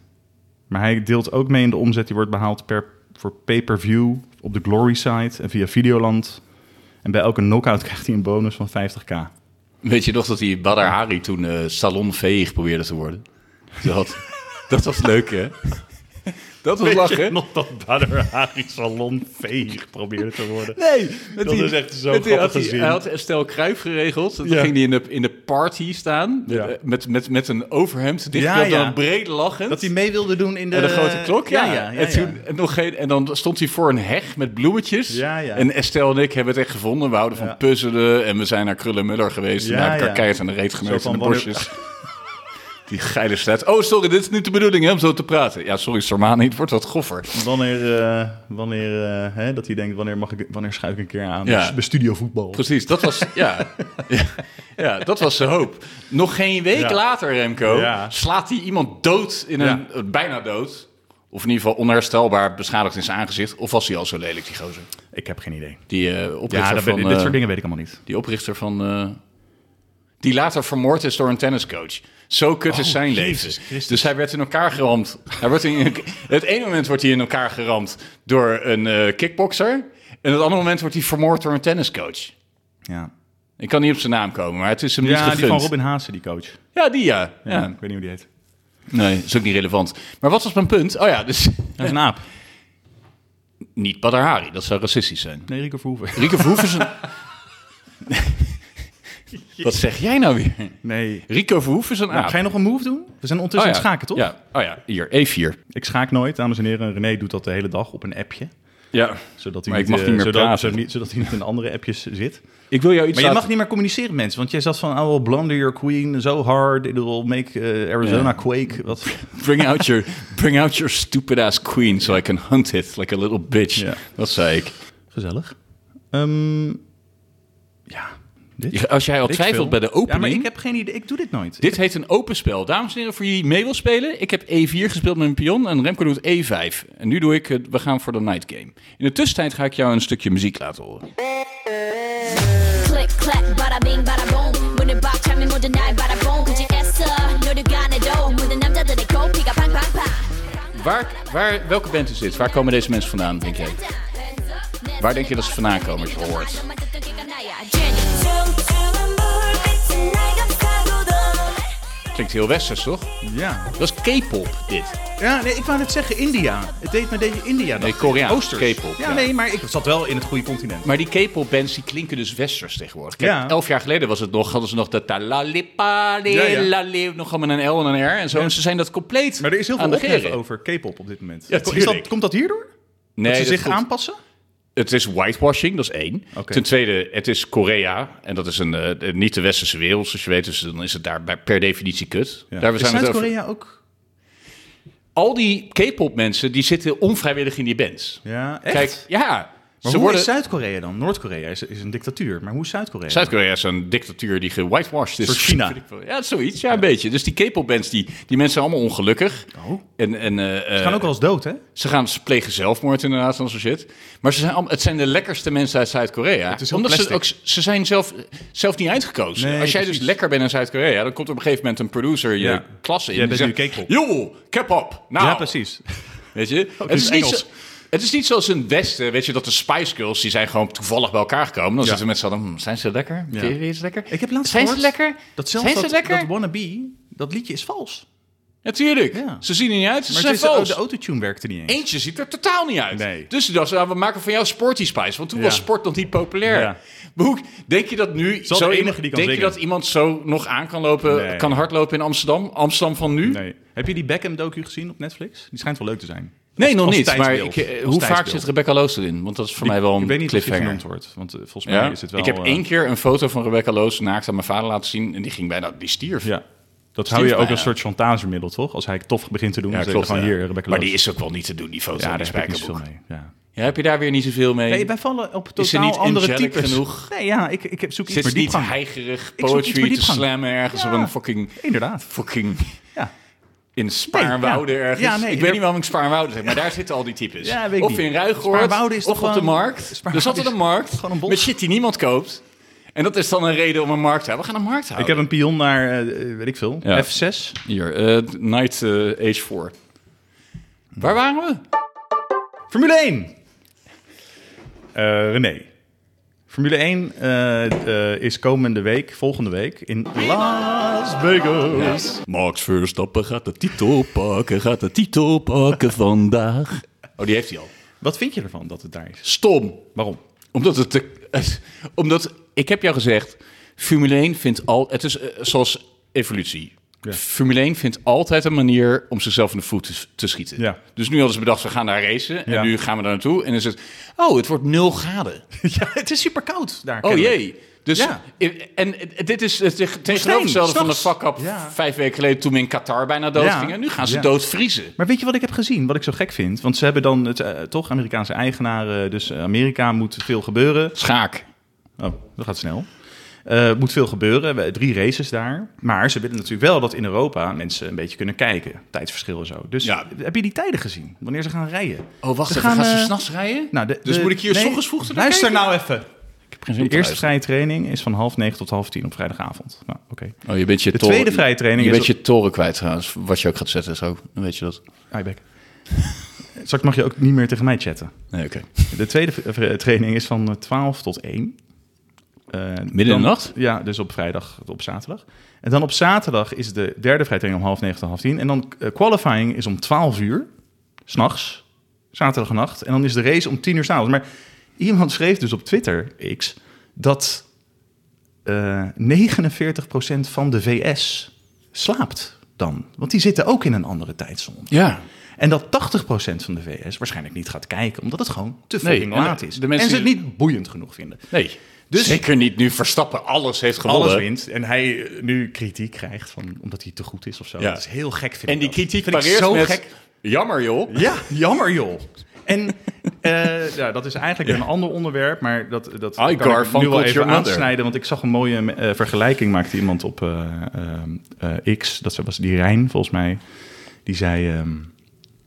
B: Maar hij deelt ook mee in de omzet die wordt behaald per, voor pay-per-view op de Glory site en via Videoland. En bij elke knockout krijgt hij een bonus van 50k.
C: Weet je nog dat die Badr Hari toen eh, salonveeg probeerde te worden? Dat, dat was leuk, hè? Dat was
B: Weet je
C: lachen.
B: nog dat Badr Hari salon veeg probeerde te worden.
C: Nee,
B: Dat is echt zo'n
C: met die- had
B: grappige
C: hij-
B: zin.
C: Hij had Stel Kruif geregeld. Dan
B: Ja.
C: ging hij in de, in de party staan.
B: Ja.
C: eh, Met, met, met een overhemd dicht
B: Ja,
C: ja,
B: ja.
C: dan breed lachend.
B: Dat hij mee wilde doen in de...
C: en een grote klok, ja. en,
B: ja.
C: toen, en, nog geen, en dan stond hij voor een heg met bloemetjes.
B: Ja, ja.
C: En Estelle en ik hebben het echt gevonden. We houden van
B: Ja.
C: puzzelen en we zijn naar Krullenmuller geweest.
B: Ja,
C: en naar
B: ja.
C: elkaar keihard aan de reet
B: Zo
C: geneukt
B: van,
C: in de
B: wanneer-
C: bosjes. Die geile slet. Oh, sorry, dit is niet de bedoeling hè, om zo te praten. Ja, sorry, Sormani, het wordt wat goffer.
B: Wanneer, eh, wanneer eh, hè, dat hij denkt, wanneer, mag ik, wanneer schuif ik een keer aan?
C: Ja.
B: Dus Bij studio voetbal.
C: Precies, dat was, ja, ja, ja, dat was zijn hoop. Nog geen week
B: Ja.
C: later, Remco,
B: Ja.
C: slaat hij iemand dood in een, eh, bijna dood. Of in ieder geval onherstelbaar beschadigd in zijn aangezicht. Of was hij al zo lelijk, die gozer?
B: Ik heb geen idee.
C: Die eh,
B: Ja,
C: oprichter
B: dat
C: van...
B: weet- dit
C: eh,
B: soort dingen weet ik allemaal niet.
C: Die oprichter van... eh, die later vermoord is door een tenniscoach. Zo kut is zijn
B: Oh, Jezus
C: leven.
B: Christus.
C: Dus hij werd in elkaar geramd. Hij wordt in, het ene moment wordt hij in elkaar geramd door een eh kickbokser. En het andere moment wordt hij vermoord door een tenniscoach.
B: Ja,
C: Ik kan niet op zijn naam komen, maar het is hem niet
B: ja die
C: gegund.
B: van Robin Haase, die coach.
C: Ja, die ja. ja.
B: Ja, Ik weet niet hoe die heet.
C: Nee, is ook niet relevant. Maar wat was mijn punt? Oh ja, dus
B: Dat is een aap.
C: niet Badr Hari. Dat zou racistisch zijn.
B: Nee, Rico Verhoeven.
C: Rieke Verhoeven is een- Wat zeg jij nou weer?
B: Nee.
C: Rico Verhoeven is een aap.
B: Nou, ga je nog een move doen? We zijn ondertussen aan
C: ja.
B: het schaken, toch?
C: Ja. Oh ja, hier, E4.
B: Ik schaak nooit, dames en heren. René doet dat de hele dag op een appje.
C: Ja.
B: Zodat hij
C: Maar ik
B: niet,
C: mag
B: eh,
C: niet meer
B: zodat,
C: praten.
B: zo niet- zodat hij niet in andere appjes zit.
C: Ik wil jou iets
B: Maar je mag
C: laten-
B: niet meer communiceren met mensen. Want jij zat van, oh, Blunder Your Queen, zo hard. It will make eh, Arizona
C: Ja.
B: quake. Wat?
C: Bring out, your, bring out your stupid ass queen so I can hunt it like a little bitch.
B: Ja.
C: Dat zei ik.
B: Gezellig. Ehm, ja, dit.
C: Je- Als jij al
B: Ik
C: twijfelt
B: veel.
C: bij de
B: Ja, maar
C: opening...
B: ik heb geen idee. Ik doe dit nooit.
C: Dit heet een open spel. Dames en heren, voor wie mee wil spelen, ik heb E4 gespeeld met een pion en Remco doet E5. En nu doe ik, eh, we gaan voor de night game. In de tussentijd ga ik jou een stukje muziek laten horen.
D: Click clack bada bing bada boom 문을 박 차면 모두 날 바라본 굳이 애써 노력 안 해도 모든 남자들의 고삐가 팡팡팡
C: Waar, waar, welke band is dit? Waar komen deze mensen vandaan, denk jij? Waar denk je dat ze vandaan komen als je het hoort? Klinkt heel westers, toch?
B: Ja.
C: Dat is K-pop, dit.
B: Ja, nee, ik wou net zeggen India. Het deed me deze India.
C: Nee,
B: dacht ik.
C: Koreaans,
B: Oosters.
C: K-pop,
B: Ja,
C: ja.
B: nee, maar ik zat wel in het goede continent.
C: Maar die K-pop bands die klinken dus westers tegenwoordig. Kijk,
B: Ja.
C: elf jaar geleden was het nog, hadden ze nog dat talalipa,
B: Ja, ja.
C: nog allemaal een L en een R en zo. En ze zijn dat compleet
B: Maar er is heel
C: aan
B: veel
C: de
B: ophef
C: geren.
B: over K-pop op dit moment.
C: Ja,
B: Is dat-
C: tuurlijk.
B: komt dat hierdoor?
C: Nee,
B: dat ze
C: dat
B: zich
C: komt-
B: aanpassen?
C: Het is whitewashing, dat is één.
B: Oké.
C: Ten tweede, het is Korea. En dat is een, eh, niet de westerse wereld, zoals je weet. Dus dan is het daar bij- per definitie kut.
B: Ja.
C: Daar
B: Is
C: zijn we het over.
B: Zuid-Korea ook?
C: Al die K-pop mensen, die zitten onvrijwillig in die bands.
B: Ja, echt?
C: Kijk, ja.
B: maar
C: ze
B: hoe
C: worden...
B: is Zuid-Korea dan? Noord-Korea is, is een dictatuur. Maar hoe is Zuid-Korea?
C: Zuid-Korea is een dictatuur die gewhitewashed is.
B: Soort China.
C: Vind ik wel. Ja, zoiets. Ja, een beetje. Dus die K-pop bands, die, die mensen zijn allemaal ongelukkig.
B: Oh.
C: En, en, eh,
B: Ze gaan
C: eh,
B: ook wel eens dood, hè?
C: Ze gaan ze plegen zelfmoord inderdaad en zo shit. Maar ze zijn, allemaal- het zijn de lekkerste mensen uit Zuid-Korea.
B: is heel
C: Omdat ze,
B: plastic.
C: ook, ze zijn zelf, zelf niet uitgekozen.
B: Nee,
C: Als jij
B: precies.
C: dus lekker bent in Zuid-Korea, dan komt op een gegeven moment een producer je
B: Ja.
C: klas in.
B: Jij
C: Die
B: bent
C: zegt,
B: nu K-pop.
C: Joh, cap op. Nou,
B: Ja, precies.
C: Weet je? het,
B: in
C: is niet
B: Engels.
C: zo- het is niet zoals in het Westen, weet je, dat de Spice Girls, die zijn gewoon toevallig bij elkaar gekomen. Dan zitten mensen allen, hm, zijn ze lekker?
B: Ja.
C: Vind je ze lekker?
B: Ik heb laatst
C: zijn ze
B: gehoord
C: lekker?
B: Dat zelfs
C: zijn ze
B: dat,
C: lekker?
B: dat Wannabe, dat liedje is vals.
C: Natuurlijk.
B: Ja.
C: Ze zien er niet uit, ze
B: Maar
C: zijn
B: het is, oh,
C: vals.
B: de autotune werkte niet eens.
C: Eentje ziet er totaal niet uit.
B: Nee.
C: Dus ze dachten, ah, we maken van jou Sporty Spice. Want toen
B: Ja.
C: was sport nog niet populair.
B: Ja.
C: Maar hoe- denk je dat nu...
B: al
C: zo
B: de enige
C: iemand-
B: die kan
C: Denk je
B: zingen.
C: dat iemand zo nog aan kan lopen,
B: Nee.
C: kan hardlopen in Amsterdam? Amsterdam van nu?
B: Nee. Heb je die Beckham-docu gezien op Netflix? Die schijnt wel leuk te zijn.
C: Nee,
B: Als-
C: nog
B: als
C: niet. Maar
B: tijdsbeeld.
C: ik, eh,
B: Als
C: hoe vaak
B: tijdsbeeld.
C: zit Rebecca Loos erin? Want dat is voor mij wel een
B: Ik weet niet of die
C: cliffhanger.
B: genoemd wordt, want eh, volgens mij
C: Ja?
B: is het wel...
C: ik heb
B: eh,
C: één keer een foto van Rebecca Loos naakt aan mijn vader laten zien. En die ging bijna... Die stierf.
B: Ja. Dat hou je
C: Stierf
B: ook
C: bijna.
B: als soort chantagemiddel, toch? Als hij tof begint te doen,
C: Ja,
B: dan zeg je
C: klopt,
B: gewoon
C: ja.
B: hier, Rebecca
C: maar
B: Loos.
C: die is ook wel niet te doen, die foto.
B: Ja,
C: in
B: daar
C: die
B: heb ik niet veel
C: spijkerboek.
B: mee. Ja.
C: Ja, heb je daar weer niet zoveel mee?
B: Nee, wij vallen op
C: Is ze
B: totaal
C: niet
B: andere
C: angelic
B: types.
C: genoeg?
B: Nee, ja, ik, ik heb- zoek iets
C: Zit
B: meer
C: ze niet
B: diepgang.
C: heigerig
B: zoek iets meer
C: poetry te
B: diepgang.
C: slammen ergens op
B: Ja.
C: een fucking...
B: Inderdaad.
C: fucking
B: Ja.
C: in Spaarnwoude
B: Nee, ja.
C: ergens.
B: Ja, nee,
C: ik
B: er-
C: weet niet waarom ik Spaarnwoude zeg, maar daar zitten al die types.
B: Ja, weet ik
C: of
B: niet.
C: in Ruigoord,
B: Spaarnwoude is
C: of
B: toch
C: op de
B: gewoon-
C: markt. Er
B: Spaarnwoude
C: zat er
B: is
C: een markt
B: gewoon een bos.
C: met shit die niemand koopt. En dat is dan een reden om een markt te houden. We gaan een markt
B: Ik
C: houden.
B: heb een pion naar, eh, weet ik veel,
C: Ja.
B: F6.
C: Hier, eh, Night eh, Age 4. Waar waren we?
B: Formule 1! Eh, René. Formule 1 eh, eh, is komende week, volgende week, in Las Vegas.
C: Max Verstappen gaat de titel pakken, gaat de titel pakken vandaag. Oh, die heeft hij al.
B: Wat vind je ervan dat het daar is?
C: Stom.
B: Waarom?
C: Omdat het... te- omdat, ik heb jou gezegd, Formule 1 vindt al... Het is eh, zoals evolutie. Formule 1 vindt altijd een manier om zichzelf in de voet te, te schieten.
B: Ja.
C: Dus nu hadden ze bedacht, we gaan daar racen. En
B: Ja.
C: nu gaan we daar naartoe. En dan is het, oh, het wordt nul graden.
B: ja, het is super koud daar.
C: Oh
B: kennelijk.
C: jee. Dus,
B: Ja.
C: i- en i- dit is het teg- tegenovergestelde van de
B: s'nachts.
C: fuck-up
B: Ja.
C: vijf weken geleden toen we in Qatar bijna dood
B: Ja.
C: gingen. Nu gaan ze
B: Ja.
C: doodvriezen.
B: Maar weet je wat ik heb gezien, wat ik zo gek vind? Want ze hebben dan het, eh, toch Amerikaanse eigenaren, dus Amerika moet veel gebeuren.
C: Schaak.
B: Oh, dat gaat snel. Eh moet veel gebeuren. We- Drie races daar. Maar ze willen natuurlijk wel dat in Europa mensen een beetje kunnen kijken. Tijdsverschil en zo. Dus
C: Ja.
B: heb je die tijden gezien? Wanneer ze gaan rijden?
C: Oh, wacht
B: ze
C: even. Gaan, ze
B: eh,
C: s'nachts rijden?
B: nou, de-
C: dus
B: de-
C: moet ik hier
B: nee,
C: s ochtends vroeg te
B: Luister
C: kijken?
B: nou even.
C: Ik heb geen
B: De
C: zin om
B: eerste
C: te luisteren.
B: vrije training is van half negen tot half tien op vrijdagavond. Nou, oké.
C: Oh, je bent je
B: De
C: toren-
B: tweede vrije training
C: Je
B: is
C: bent je toren kwijt trouwens. Wat je ook gaat zetten zo. Dan weet je dat.
B: Hi, Beck. Ah, Straks mag je ook niet meer tegen mij chatten.
C: Nee, oké.
B: De tweede v- v- training is van eh, 12 tot 1. Eh, Midden
C: in de nacht?
B: Ja, dus op vrijdag, tot op zaterdag. En dan op zaterdag is de derde vrijtraining om half negen tot half tien. En dan eh, qualifying is om 12 uur, s'nachts, zaterdagnacht. En dan is de race om 10 uur s'avonds. Maar iemand schreef dus op Twitter, X, dat eh 49% van de VS slaapt dan. Want die zitten ook in een andere tijdzone.
C: Ja.
B: En dat 80% van de VS waarschijnlijk niet gaat kijken, omdat het gewoon te
C: Nee,
B: fucking
C: en de-
B: laat is.
C: de mensen
B: en ze het
C: die-
B: niet boeiend genoeg vinden.
C: Nee.
B: Dus-
C: Zeker niet nu Verstappen alles heeft gewonnen.
B: Alles wint en hij eh, nu kritiek krijgt van, omdat hij te goed is of zo.
C: Ja.
B: Dat is heel gek, vind ik
C: En die
B: dat.
C: kritiek
B: Vind ik
C: pareert
B: zo
C: met...
B: gek.
C: Jammer joh.
B: Ja, jammer joh. En eh, ja, dat is eigenlijk een ander onderwerp, maar dat, dat kan ik nu
C: Garfunkel,
B: wel
C: it's your
B: even
C: mother.
B: aansnijden. Want ik zag een mooie eh, vergelijking, maakte iemand op eh, eh, eh, X, dat was die Rijn volgens mij, die zei ehm,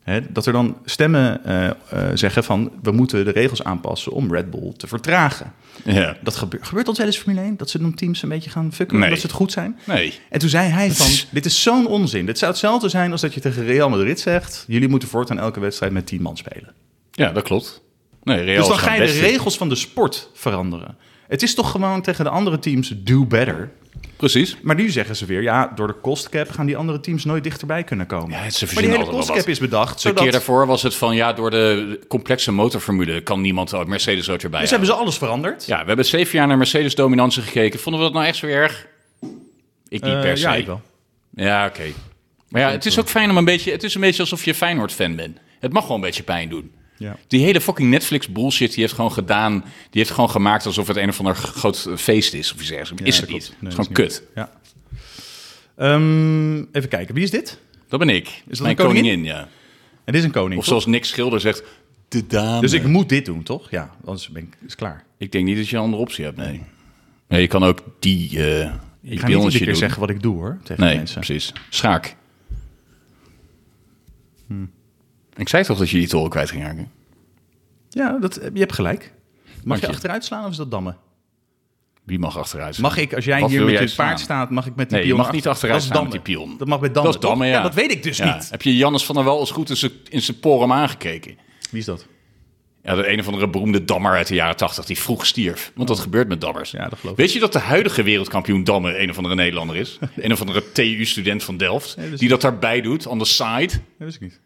B: hè, dat er dan stemmen eh, eh, zeggen van we moeten de regels aanpassen om Red Bull te vertragen.
C: Ja.
B: Dat gebeurt, gebeurt dat wel eens in Formule 1? Dat ze dan teams een beetje gaan fucken
C: Nee.
B: omdat ze het goed zijn?
C: Nee.
B: En toen zei hij van,
C: is-
B: dit is zo'n onzin. Dit zou hetzelfde zijn als dat je tegen Real Madrid zegt... jullie moeten voortaan elke wedstrijd met 10 man spelen.
C: Ja, dat klopt. Nee, Real
B: dus
C: is
B: dan ga
C: gewoon
B: je de
C: best.
B: regels van de sport veranderen. Het is toch gewoon tegen de andere teams do better.
C: Precies.
B: Maar nu zeggen ze weer, ja, door de costcap... gaan die andere teams nooit dichterbij kunnen komen.
C: Ja, het- ze
B: maar die
C: verzinnen
B: hele
C: altijd wel
B: costcap
C: wat.
B: is bedacht,
C: De
B: zodat...
C: keer daarvoor was het van ja, door de complexe motorformule kan niemand ook Mercedes ook erbij.
B: Dus
C: halen.
B: hebben ze alles veranderd.
C: Ja, we hebben zeven jaar naar Mercedes-dominantie gekeken. Vonden we dat nou echt zo erg? Ik niet
B: Eh,
C: per se.
B: ja, ik wel.
C: Ja, oké. Maar ja, het is ook fijn om een beetje... Het is een beetje alsof je Feyenoord-fan bent. Het mag gewoon een beetje pijn doen.
B: Ja.
C: Die hele fucking Netflix-bullshit, die heeft gewoon gedaan... Die heeft gewoon gemaakt alsof het een of ander groot feest is. Of iets ergens.
B: Ja,
C: is
B: dat
C: het
B: klopt.
C: niet.
B: Nee,
C: het
B: dat
C: is gewoon
B: is
C: kut.
B: Ja. Ehm, even kijken, wie is dit?
C: Dat ben ik.
B: dat
C: Mijn
B: een koningin?
C: ja.
B: Het is een koning,
C: Of
B: toch?
C: zoals Nick Schilder zegt... De dame.
B: Dus ik moet dit doen, toch? Ja, anders ben ik is klaar.
C: Ik denk niet dat je een andere optie hebt, nee. Nee, je kan ook die... eh
B: Ik
C: ik
B: ga niet iedere
C: je
B: keer
C: doen.
B: zeggen wat ik doe, hoor. Tegen
C: Nee,
B: mensen.
C: precies. Schaak.
B: Hm.
C: Ik zei toch dat je die toren kwijt ging raken?
B: Ja, dat, eh, je hebt gelijk. Mag
C: Dank
B: je
C: je.
B: achteruit slaan of is dat dammen?
C: Wie mag achteruit?
B: Mag ik, als jij
C: Wat
B: hier
C: wil
B: met je
C: jij
B: paard
C: slaan?
B: staat, mag ik met die
C: Nee, je
B: pion
C: mag niet achteruit
B: Dat is
C: staan met
B: dammen.
C: die pion.
B: Dat mag met dammen.
C: Dat is dammen,
B: toch?
C: ja.
B: Dat weet ik dus
C: Ja.
B: niet.
C: Heb je Jannes van der Wal eens goed in zijn- in zijn porum aangekeken?
B: Wie is dat?
C: Ja, de een of andere beroemde dammer uit de jaren 80 die vroeg stierf. Want dat gebeurt met dammers.
B: Ja, dat geloof ik.
C: Weet je dat de huidige wereldkampioen dammen een of andere Nederlander is? Een of andere TU-student van Delft.
B: dat is-
C: die dat daarbij doet, on the side.
B: Dat wist ik niet.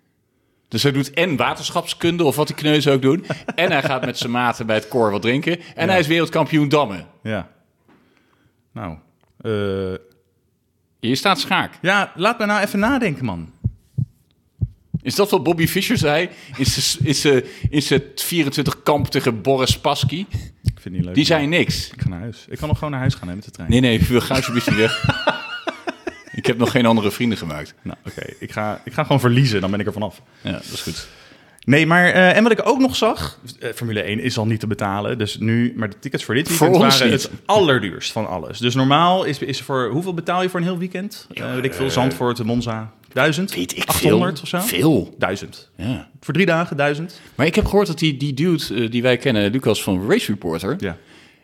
C: Dus hij doet en waterschapskunde, of wat die kneuzen ook doen. en hij gaat met zijn maten bij het koor wat drinken. En hij is wereldkampioen dammen.
B: Ja. Nou. eh,
C: Hier staat schaak.
B: ja, laat me nou even nadenken, man.
C: Is dat wat Bobby Fischer zei? Is ze- is ze- is het 24 kamp tegen Boris Pasky?
B: Ik vind het niet leuk.
C: Die zei niks.
B: Ik ga naar huis. Ik kan nog gewoon naar huis gaan hè, met de trein.
C: Nee, nee, we gaan alsjeblieft niet weg. Ik heb nog geen andere vrienden gemaakt.
B: Nou, oké. Ik, ga, ik ga gewoon verliezen, dan ben ik er vanaf.
C: Ja, dat is goed.
B: Nee, maar eh, en wat ik ook nog zag, eh, Formule 1 is al niet te betalen, dus nu, maar de tickets voor dit weekend
C: Voor ons
B: waren
C: niet.
B: het allerduurst van alles. Dus normaal is, is voor hoeveel betaal je voor een heel weekend? Eh weet ik veel, Zandvoort, Monza, duizend,
C: Weet ik
B: 800
C: veel.
B: of zo?
C: Veel.
B: Duizend.
C: Ja.
B: Voor drie dagen duizend.
C: Maar ik heb gehoord dat die, die dude eh, die wij kennen, Lucas van Race Reporter,
B: Ja.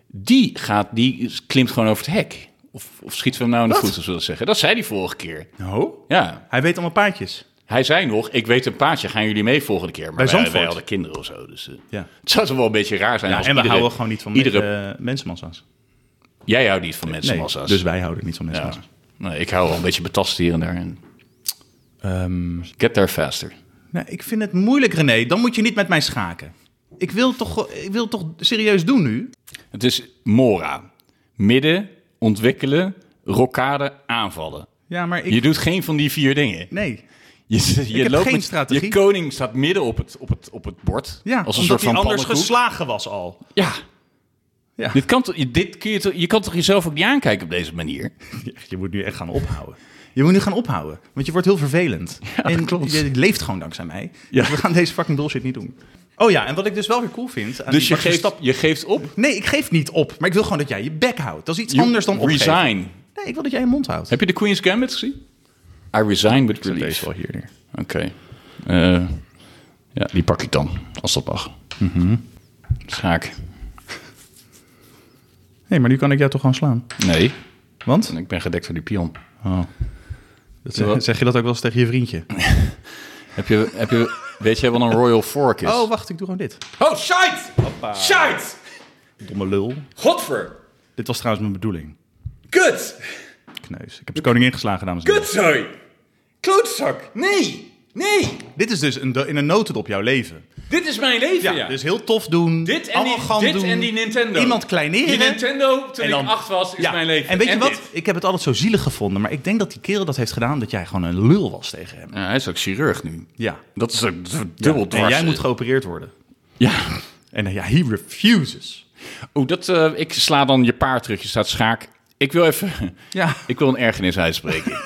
C: die, gaat, die klimt gewoon over het hek. Of, of schieten we hem nou in de
B: Wat?
C: voeten, zullen we zeggen. Dat zei hij vorige keer.
B: Oh?
C: Ja.
B: Hij weet allemaal paadjes.
C: Hij zei nog, ik weet een paadje, gaan jullie mee volgende keer? Maar
B: Bij
C: wij,
B: Zandvoort.
C: wij hadden kinderen of zo. Dus, eh,
B: Ja.
C: Het zou toch wel een beetje raar zijn
B: Ja, en
C: als
B: we
C: iedereen-
B: houden gewoon niet van
C: iedere,
B: eh, mensenmassa's.
C: Jij houdt niet van
B: Nee,
C: mensenmassa's.
B: dus wij houden niet van
C: ja.
B: mensenmassa's.
C: nee, ik hou wel een beetje betast hier en daar. En
B: Ehm,
C: Get there faster.
B: nou, ik vind het moeilijk, René. Dan moet je niet met mij schaken. Ik wil toch, ik wil toch serieus doen nu?
C: Het is Mora. Midden, ontwikkelen, rokkade, aanvallen.
B: Ja, maar ik...
C: Je doet geen van die vier dingen.
B: Nee.
C: Je, je
B: heb
C: loopt
B: geen
C: met-
B: strategie.
C: Je koning staat midden op het, op het, op het bord.
B: Ja,
C: als een
B: omdat
C: soort van
B: hij anders
C: pannenkoek.
B: geslagen was al.
C: Ja.
B: Ja.
C: Dit kan, toch- je- dit kun je, toch- je kan toch jezelf ook niet aankijken op deze manier?
B: Je moet nu echt gaan ophouden. Je moet nu gaan ophouden, want je wordt heel vervelend. en
C: klopt.
B: je leeft gewoon dankzij mij.
C: Ja.
B: Dus we gaan deze fucking bullshit niet doen. Oh ja, en wat ik dus wel weer cool vind... aan
C: Dus
B: die Max
C: je geeft,
B: Verstappen-
C: je geeft op.
B: Nee, ik geef niet op. Maar ik wil gewoon dat jij je bek houdt. Dat is iets
C: You
B: anders dan opgeven.
C: Resign.
B: Nee, ik wil dat jij je mond houdt.
C: Heb je de Queen's Gambit gezien? I resign with
B: je
C: release.
B: hier neer.
C: Oké. Eh, ja, die pak ik dan, als dat mag. Mhm. Dus Schaak.
B: Nee, maar nu kan ik jou toch gewoon slaan.
C: Nee,
B: Want?
C: ik ben gedekt door die pion.
B: Zeg, zeg je dat ook wel eens tegen je vriendje?
C: Heb je, heb je, weet jij wat een Royal Fork is?
B: Oh, wacht, ik doe gewoon dit.
C: oh shite! Shite!
B: Domme lul.
C: Godver!
B: Dit was trouwens mijn bedoeling.
C: Kut!
B: Kneus. Ik heb de koningin geslagen, dames en heren.
C: sorry! Klootzak! Nee! Nee!
B: Dit is dus een, do- in een notendop jouw leven.
C: Dit is mijn leven,
B: Ja, dus heel tof doen.
C: Dit en, die,
B: arrogant
C: dit
B: doen.
C: en die Nintendo.
B: Iemand kleineren.
C: Die Nintendo, toen
B: En dan-
C: ik acht was, is
B: Ja,
C: mijn leven.
B: En weet je wat?
C: dit.
B: Ik heb het altijd zo zielig gevonden, maar ik denk dat die kerel dat heeft gedaan, dat jij gewoon een lul was tegen hem.
C: Ja, hij is ook chirurg nu.
B: Ja.
C: Dat is ook dubbel dwars.
B: En jij moet geopereerd worden.
C: Ja.
B: En eh, ja, he refuses.
C: Oh, dat, eh, ik sla dan je paard terug. Je staat schaak. Ik wil even...
B: Ja.
C: Ik wil een ergernis uitspreken.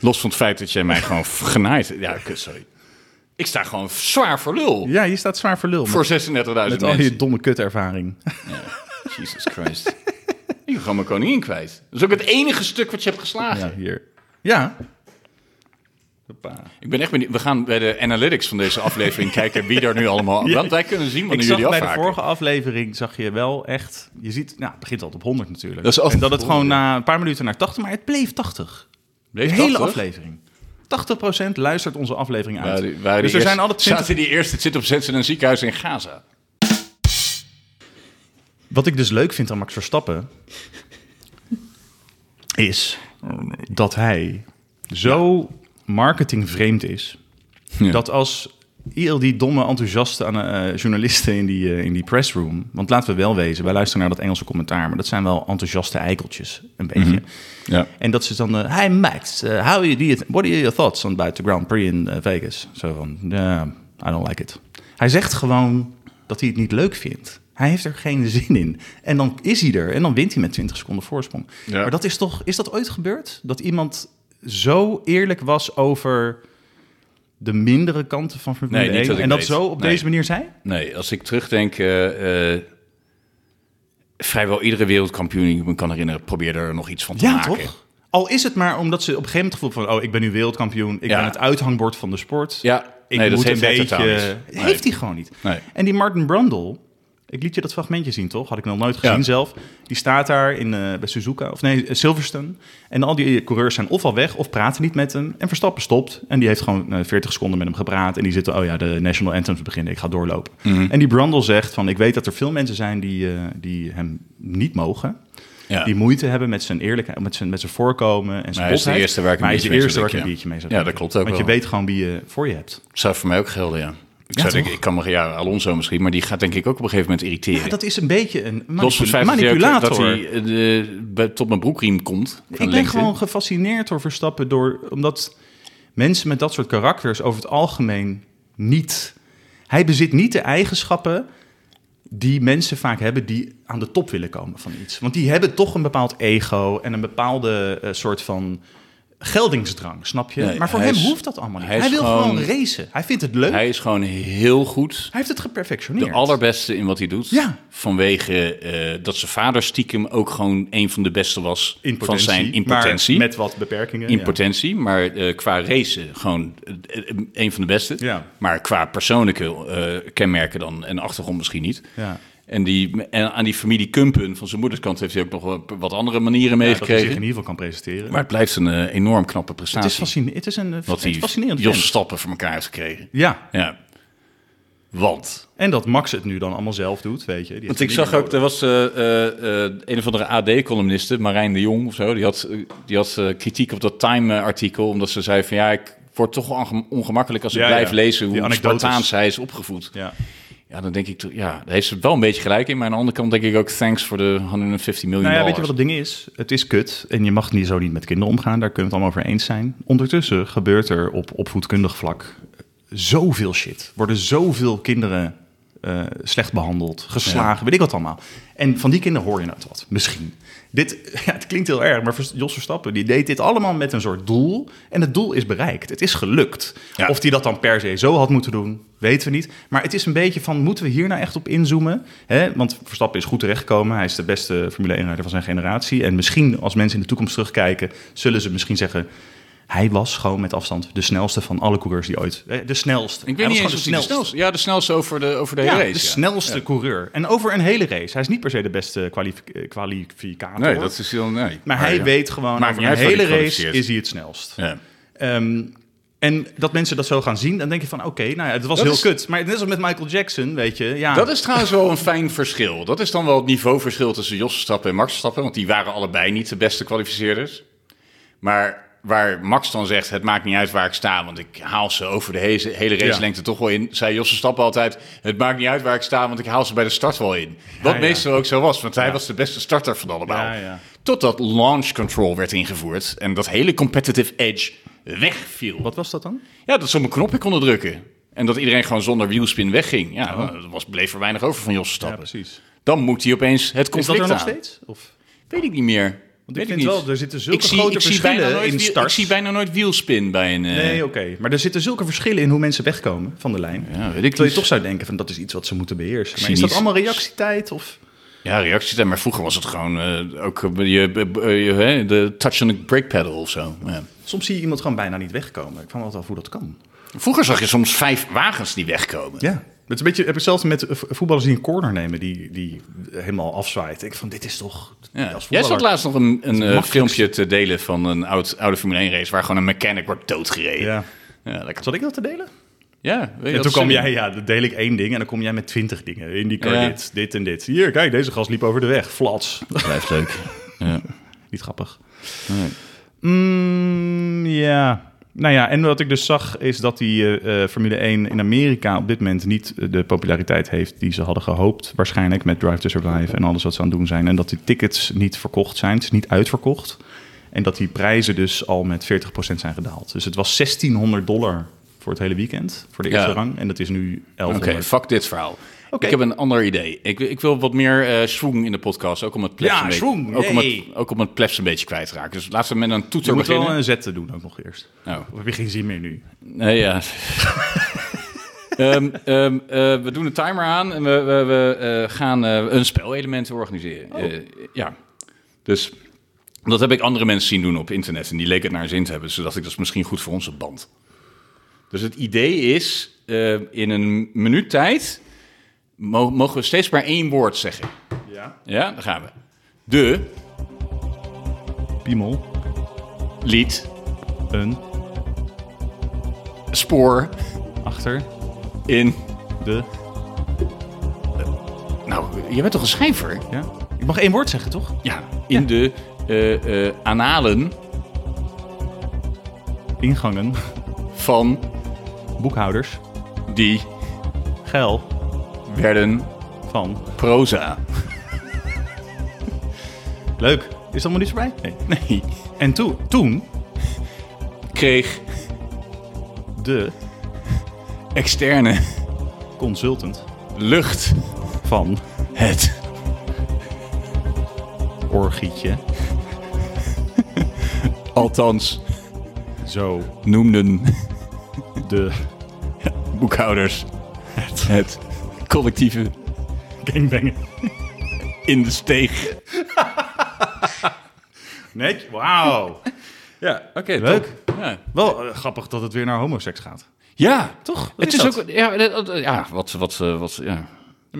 C: Los van het feit dat jij mij gewoon genaaid... Ja, kut, sorry. Ik sta gewoon zwaar voor lul.
B: Ja, je staat zwaar voor lul.
C: Voor
B: Met,
C: 36.000
B: met
C: mensen.
B: al je domme kutervaring.
C: Jesus Christ. ik ben gewoon mijn koningin kwijt. Dat is ook het enige stuk wat je hebt geslagen.
B: Ja, hier. Ja.
C: Ik ben echt benieuwd. We gaan bij de analytics van deze aflevering kijken wie daar nu allemaal... Want wij kunnen zien
B: Ik
C: wanneer
B: zag
C: jullie
B: bij de
C: afhaken.
B: vorige aflevering, zag je wel echt, je ziet, nou het begint altijd op 100 natuurlijk.
C: Dat is altijd
B: en dat het
C: op
B: gewoon
C: 100,
B: na een paar minuten naar 80, maar het bleef 80.
C: Bleef
B: de hele
C: 80?
B: aflevering. 80% luistert onze aflevering uit.
C: Waar die- waar die
B: dus er
C: eerst-
B: zijn altijd 20
C: Zaten die eerst, het zit op zet ze in een ziekenhuis in Gaza.
B: Wat ik dus leuk vind aan Max Verstappen is dat hij zo marketingvreemd is
C: Ja.
B: dat als al die domme enthousiaste aan, eh, journalisten in die, eh, in die pressroom, want laten we wel wezen, wij luisteren naar dat Engelse commentaar, maar dat zijn wel enthousiaste eikeltjes een beetje.
C: Mhm. Ja.
B: En dat ze dan, eh, hey Max, eh, how are you, do you- what are your thoughts on about the Grand Prix in eh, Vegas? Zo van, "Yeah, I don't like it. Hij zegt gewoon dat hij het niet leuk vindt. Hij heeft er geen zin in. En dan is hij er en dan wint hij met 20 seconden voorsprong.
C: Ja.
B: Maar dat is toch, is dat ooit gebeurd? Dat iemand zo eerlijk was over de mindere kanten van Formule
C: Nee, niet
B: 1
C: dat ik
B: en dat
C: weet.
B: zo op
C: Nee.
B: deze manier zei?
C: Nee, als ik terugdenk... eh, eh, vrijwel iedere wereldkampioen die ik me kan herinneren... probeerde er nog iets van te
B: Ja,
C: maken.
B: toch? Al is het maar omdat ze op een gegeven moment het gevoel van... oh, ik ben nu wereldkampioen, ik
C: Ja.
B: ben het uithangbord van de sport.
C: Ja,
B: ik
C: nee, dat
B: moet
C: heeft hij
B: een
C: totaal
B: beetje...
C: niet. Nee.
B: Heeft hij gewoon niet.
C: Nee.
B: En die Martin Brundle, ik liet je dat fragmentje zien, toch? Had ik nog nooit
C: Ja.
B: gezien zelf. Die staat daar in, eh, bij Suzuka, of nee, eh, Silverstone. En al die coureurs zijn of al weg, of praten niet met hem. En Verstappen stopt. En die heeft gewoon eh, 40 seconden met hem gepraat. En die zitten, oh ja, de National Anthems beginnen, ik ga doorlopen.
C: Mhm.
B: En die Brundle zegt van, ik weet dat er veel mensen zijn die, eh, die hem niet mogen.
C: Ja.
B: Die moeite hebben met zijn eerlijkheid, met zijn, met zijn voorkomen en zijn
C: Maar hij is de
B: botheid.
C: eerste waar ik een
B: Maar hij is de
C: biertje mee
B: eerste
C: zou
B: waar ik een biertje
C: drinken,
B: mee zou
C: ja. Ja,
B: drinken.
C: dat klopt ook
B: Want
C: wel.
B: je weet gewoon wie je voor je hebt.
C: zou voor mij ook gelden, ja. Ik,
B: Ja,
C: zou denken,
B: toch?
C: ik kan me, ja, Alonso misschien, maar die gaat denk ik ook op een gegeven moment irriteren.
B: Ja, dat is een beetje een
C: Los van
B: manipula-
C: het feit dat hij ook-
B: manipulator.
C: dat hij eh, de- bij- tot mijn broekriem komt. van
B: ik ben
C: lengte.
B: gewoon gefascineerd door Verstappen, door, omdat mensen met dat soort karakters over het algemeen niet... Hij bezit niet de eigenschappen die mensen vaak hebben die aan de top willen komen van iets. Want die hebben toch een bepaald ego en een bepaalde eh, soort van geldingsdrang, snap je?
C: Nee,
B: maar voor
C: hij
B: hem
C: is-
B: hoeft dat allemaal niet.
C: hij
B: Hij,
C: is
B: wil
C: gewoon-
B: gewoon... racen. Hij vindt het leuk. Hij,
C: Hij is gewoon heel goed.
B: heeft het
C: De
B: geperfectioneerd.
C: allerbeste in wat hij doet.
B: Ja.
C: Vanwege eh, dat zijn vader stiekem ook gewoon een van de beste was
B: In
C: van
B: potentie,
C: zijn
B: maar
C: impotentie.
B: met wat beperkingen.
C: in
B: ja.
C: potentie, maar eh, qua race gewoon eh, eh, een van de beste.
B: Ja.
C: Maar qua persoonlijke eh, kenmerken dan en achtergrond misschien niet.
B: Ja.
C: En, die, en aan die familie Kumpen van zijn moederskant heeft hij ook nog wel wat andere manieren
B: Ja, dat hij zich in
C: meegekregen.
B: ieder geval kan presenteren.
C: maar het blijft een eh, enorm knappe
B: het,
C: prestatie.
B: is fascinerend. het is een eh,
C: wat
B: het is
C: die
B: fascinerend
C: Jos
B: vent.
C: Stappen voor elkaar heeft gekregen.
B: Ja,
C: Ja. Want.
B: en dat Max het nu dan allemaal zelf doet, weet je. Die
C: Want ik
B: heeft
C: zag
B: familie
C: ook, er was eh, eh, eh, een of andere AD-columniste, Marijn de Jong of zo, die had, eh, die had eh, kritiek op dat Time-artikel, omdat ze zei van ja, ik word toch onge- ongemakkelijk als ik
B: Ja,
C: blijf
B: ja.
C: lezen
B: Die
C: hoe
B: anekdotes.
C: Spartaans zij is opgevoed.
B: nodig. Ja.
C: Ja, dan denk ik, toch- ja, daar heeft ze wel een beetje gelijk in. Maar aan de andere kant denk ik ook, thanks voor de 150 miljoen
B: Nou ja, weet
C: dollars.
B: je wat het ding is? Het is kut en je mag niet, zo niet met kinderen omgaan. Daar kunnen we het allemaal over eens zijn. Ondertussen gebeurt er op opvoedkundig vlak zoveel shit. Worden zoveel kinderen eh, slecht behandeld, geslagen, weet ik wat allemaal. En van die kinderen hoor je nooit wat, misschien. Dit, ja, het klinkt heel erg, maar Vers- Jos Verstappen die deed dit allemaal met een soort doel. En het doel is bereikt. Het is gelukt.
C: Ja.
B: Of hij dat dan per se zo had moeten doen, weten we niet. Maar het is een beetje van, moeten we hier nou echt op inzoomen? Hè? Want Verstappen is goed terechtgekomen. Hij is de beste Formule 1-rijder van zijn generatie. En misschien, als mensen in de toekomst terugkijken... zullen ze misschien zeggen... hij was gewoon met afstand de snelste van alle coureurs die ooit... hè, De snelste.
C: Ik
B: Hij
C: weet niet
B: was
C: eens
B: gewoon
C: of die de snelste... Ja, de snelste over de, over de hele
B: ja,
C: race.
B: de
C: ja.
B: snelste coureur. En over een hele race. Hij is niet per se de beste kwalif- eh, kwalificator.
C: Nee, dat is heel... Nee.
B: Maar hij
C: ja.
B: weet gewoon,
C: Maakt
B: over een
C: niet uit waar
B: hele
C: hij
B: race
C: kwalificeert.
B: is hij het snelst.
C: Ja.
B: Ehm, en dat mensen dat zo gaan zien, dan denk je van... oké, nou ja, het was
C: Dat
B: heel
C: is-
B: kut. Maar net als met Michael Jackson, weet je. Ja,
C: Dat is trouwens wel een fijn verschil. Dat is dan wel het niveauverschil tussen Jos Stappen en Max Stappen. Want die waren allebei niet de beste kwalificeerders. Maar waar Max dan zegt, het maakt niet uit waar ik sta... want ik haal ze over de heze- hele race lengte toch wel in... zei Jos Stappen altijd, het maakt niet uit waar ik sta... want ik haal ze bij de start wel in. Wat
B: Ja, ja.
C: meestal ook zo was, want hij was de beste starter van allemaal.
B: Ja, ja.
C: Totdat launch control werd ingevoerd... en dat hele competitive edge wegviel.
B: Wat was dat dan?
C: Ja, dat ze op een knopje konden drukken. En dat iedereen gewoon zonder wielspin wegging. Ja, dat was, bleef er weinig over van Jos Stappen.
B: Oh. precies.
C: Dan moet hij opeens het
B: Is dat
C: conflict
B: er nog
C: aan.
B: steeds? Of?
C: Weet ik niet meer.
B: Want
C: Weet
B: ik
C: ik
B: vind
C: niet.
B: wel, er zitten zulke
C: ik zie,
B: grote
C: ik zie
B: verschillen
C: bijna nooit
B: in
C: wiel-
B: start.
C: Ik zie bijna nooit wielspin bij een... eh,
B: Nee, oké. Maar er zitten zulke verschillen in hoe mensen wegkomen van de lijn.
C: Ja, weet ik
B: Terwijl je
C: niet.
B: toch zou denken van dat is iets wat ze moeten beheersen. Maar
C: zie
B: is dat
C: niet-
B: allemaal reactietijd? Of?
C: Ja, reacties. Maar vroeger was het gewoon eh, ook eh, je, eh, je, hè, de touch on the brake pedal of zo. Ja.
B: Soms zie je iemand gewoon bijna niet wegkomen. Ik vraag me altijd af hoe dat kan.
C: Vroeger zag je soms vijf wagens die wegkomen.
B: Ja. Het is een beetje, heb ik zelfs met eh, vo- voetballers die een corner nemen, die, die helemaal afzwaait. Ik van, dit is toch... als
C: Ja. Jij
B: voetballer-
C: zat laatst nog een, een eh,
B: makkelijkste.
C: filmpje te delen van een oud, oude Formule 1 race... waar gewoon een mechanic wordt doodgereden.
B: Ja.
C: Ja, lekker.
B: Zat ik dat te delen?
C: Ja, weet je
B: En
C: dat
B: toen kwam
C: zin?
B: jij, ja, dan deel ik één ding en dan kom jij met twintig dingen. Indica
C: Ja.
B: dit, dit en dit. Hier, kijk, deze gast liep over de weg. Flats.
C: Blijft leuk. Ja.
B: Niet grappig. Mm, ja. Nou ja, en wat ik dus zag is dat die eh, eh, Formule 1 in Amerika op dit moment niet eh, de populariteit heeft die ze hadden gehoopt. Waarschijnlijk met Drive to Survive en alles wat ze aan het doen zijn. En dat die tickets niet verkocht zijn. Het is niet uitverkocht. En dat die prijzen dus al met 40% zijn gedaald. Dus het was 1600 dollar voor het hele weekend, voor de eerste
C: Ja.
B: rang. En dat is nu
C: Oké,
B: 1100.
C: fuck dit verhaal.
B: Oké.
C: Ik heb een ander idee. Ik, ik wil wat meer eh schwung in de podcast. Ook om het plebs
B: Ja,
C: een beetje,
B: schwung,
C: ook om het,
B: yay.
C: ook om het plebs een beetje kwijt te raken. Dus laten we met een
B: Je
C: toeter
B: moet wel
C: beginnen.
B: een zet te doen ook nog eerst.
C: Nou,
B: Of heb je geen zin meer nu?
C: nee, ja. Ehm, ehm, eh, we doen een timer aan en we, we, we eh, gaan eh, een spelelement organiseren. Eh, ja, dus dat heb ik andere mensen zien doen op internet en die leken het naar hun zin te hebben. Dus toen dacht ik, dat is misschien goed voor onze band. Dus het idee is, eh, in een minuut tijd mo- mogen we steeds maar één woord zeggen.
B: Ja.
C: Ja, daar gaan we. De,
B: Piemel,
C: lied,
B: een,
C: spoor,
B: achter,
C: in...
B: de...
C: Nou, je bent toch een schrijver?
B: Ja? Ik mag één woord zeggen, toch?
C: Ja, in de eh, eh, analen
B: Ingangen,
C: van
B: boekhouders,
C: die
B: geil,
C: werden
B: van.
C: proza.
B: Leuk. Is dat allemaal niet voorbij? Nee.
C: Nee,
B: En toen, toen
C: kreeg
B: de
C: externe
B: consultant
C: lucht
B: van
C: het
B: Orgietje
C: althans
B: zo
C: noemden
B: de
C: boekhouders het collectieve
B: gangbanger.
C: in de steeg.
B: Nee, wauw.
C: Ja, oké,
B: Leuk.
C: top. Ja.
B: Wel eh, grappig dat het weer naar homoseks gaat.
C: Ja,
B: Toch? Wat
C: Het
B: is
C: is
B: dat?
C: ook ja, dat- dat- ja wat wat eh, wat ja.
B: maar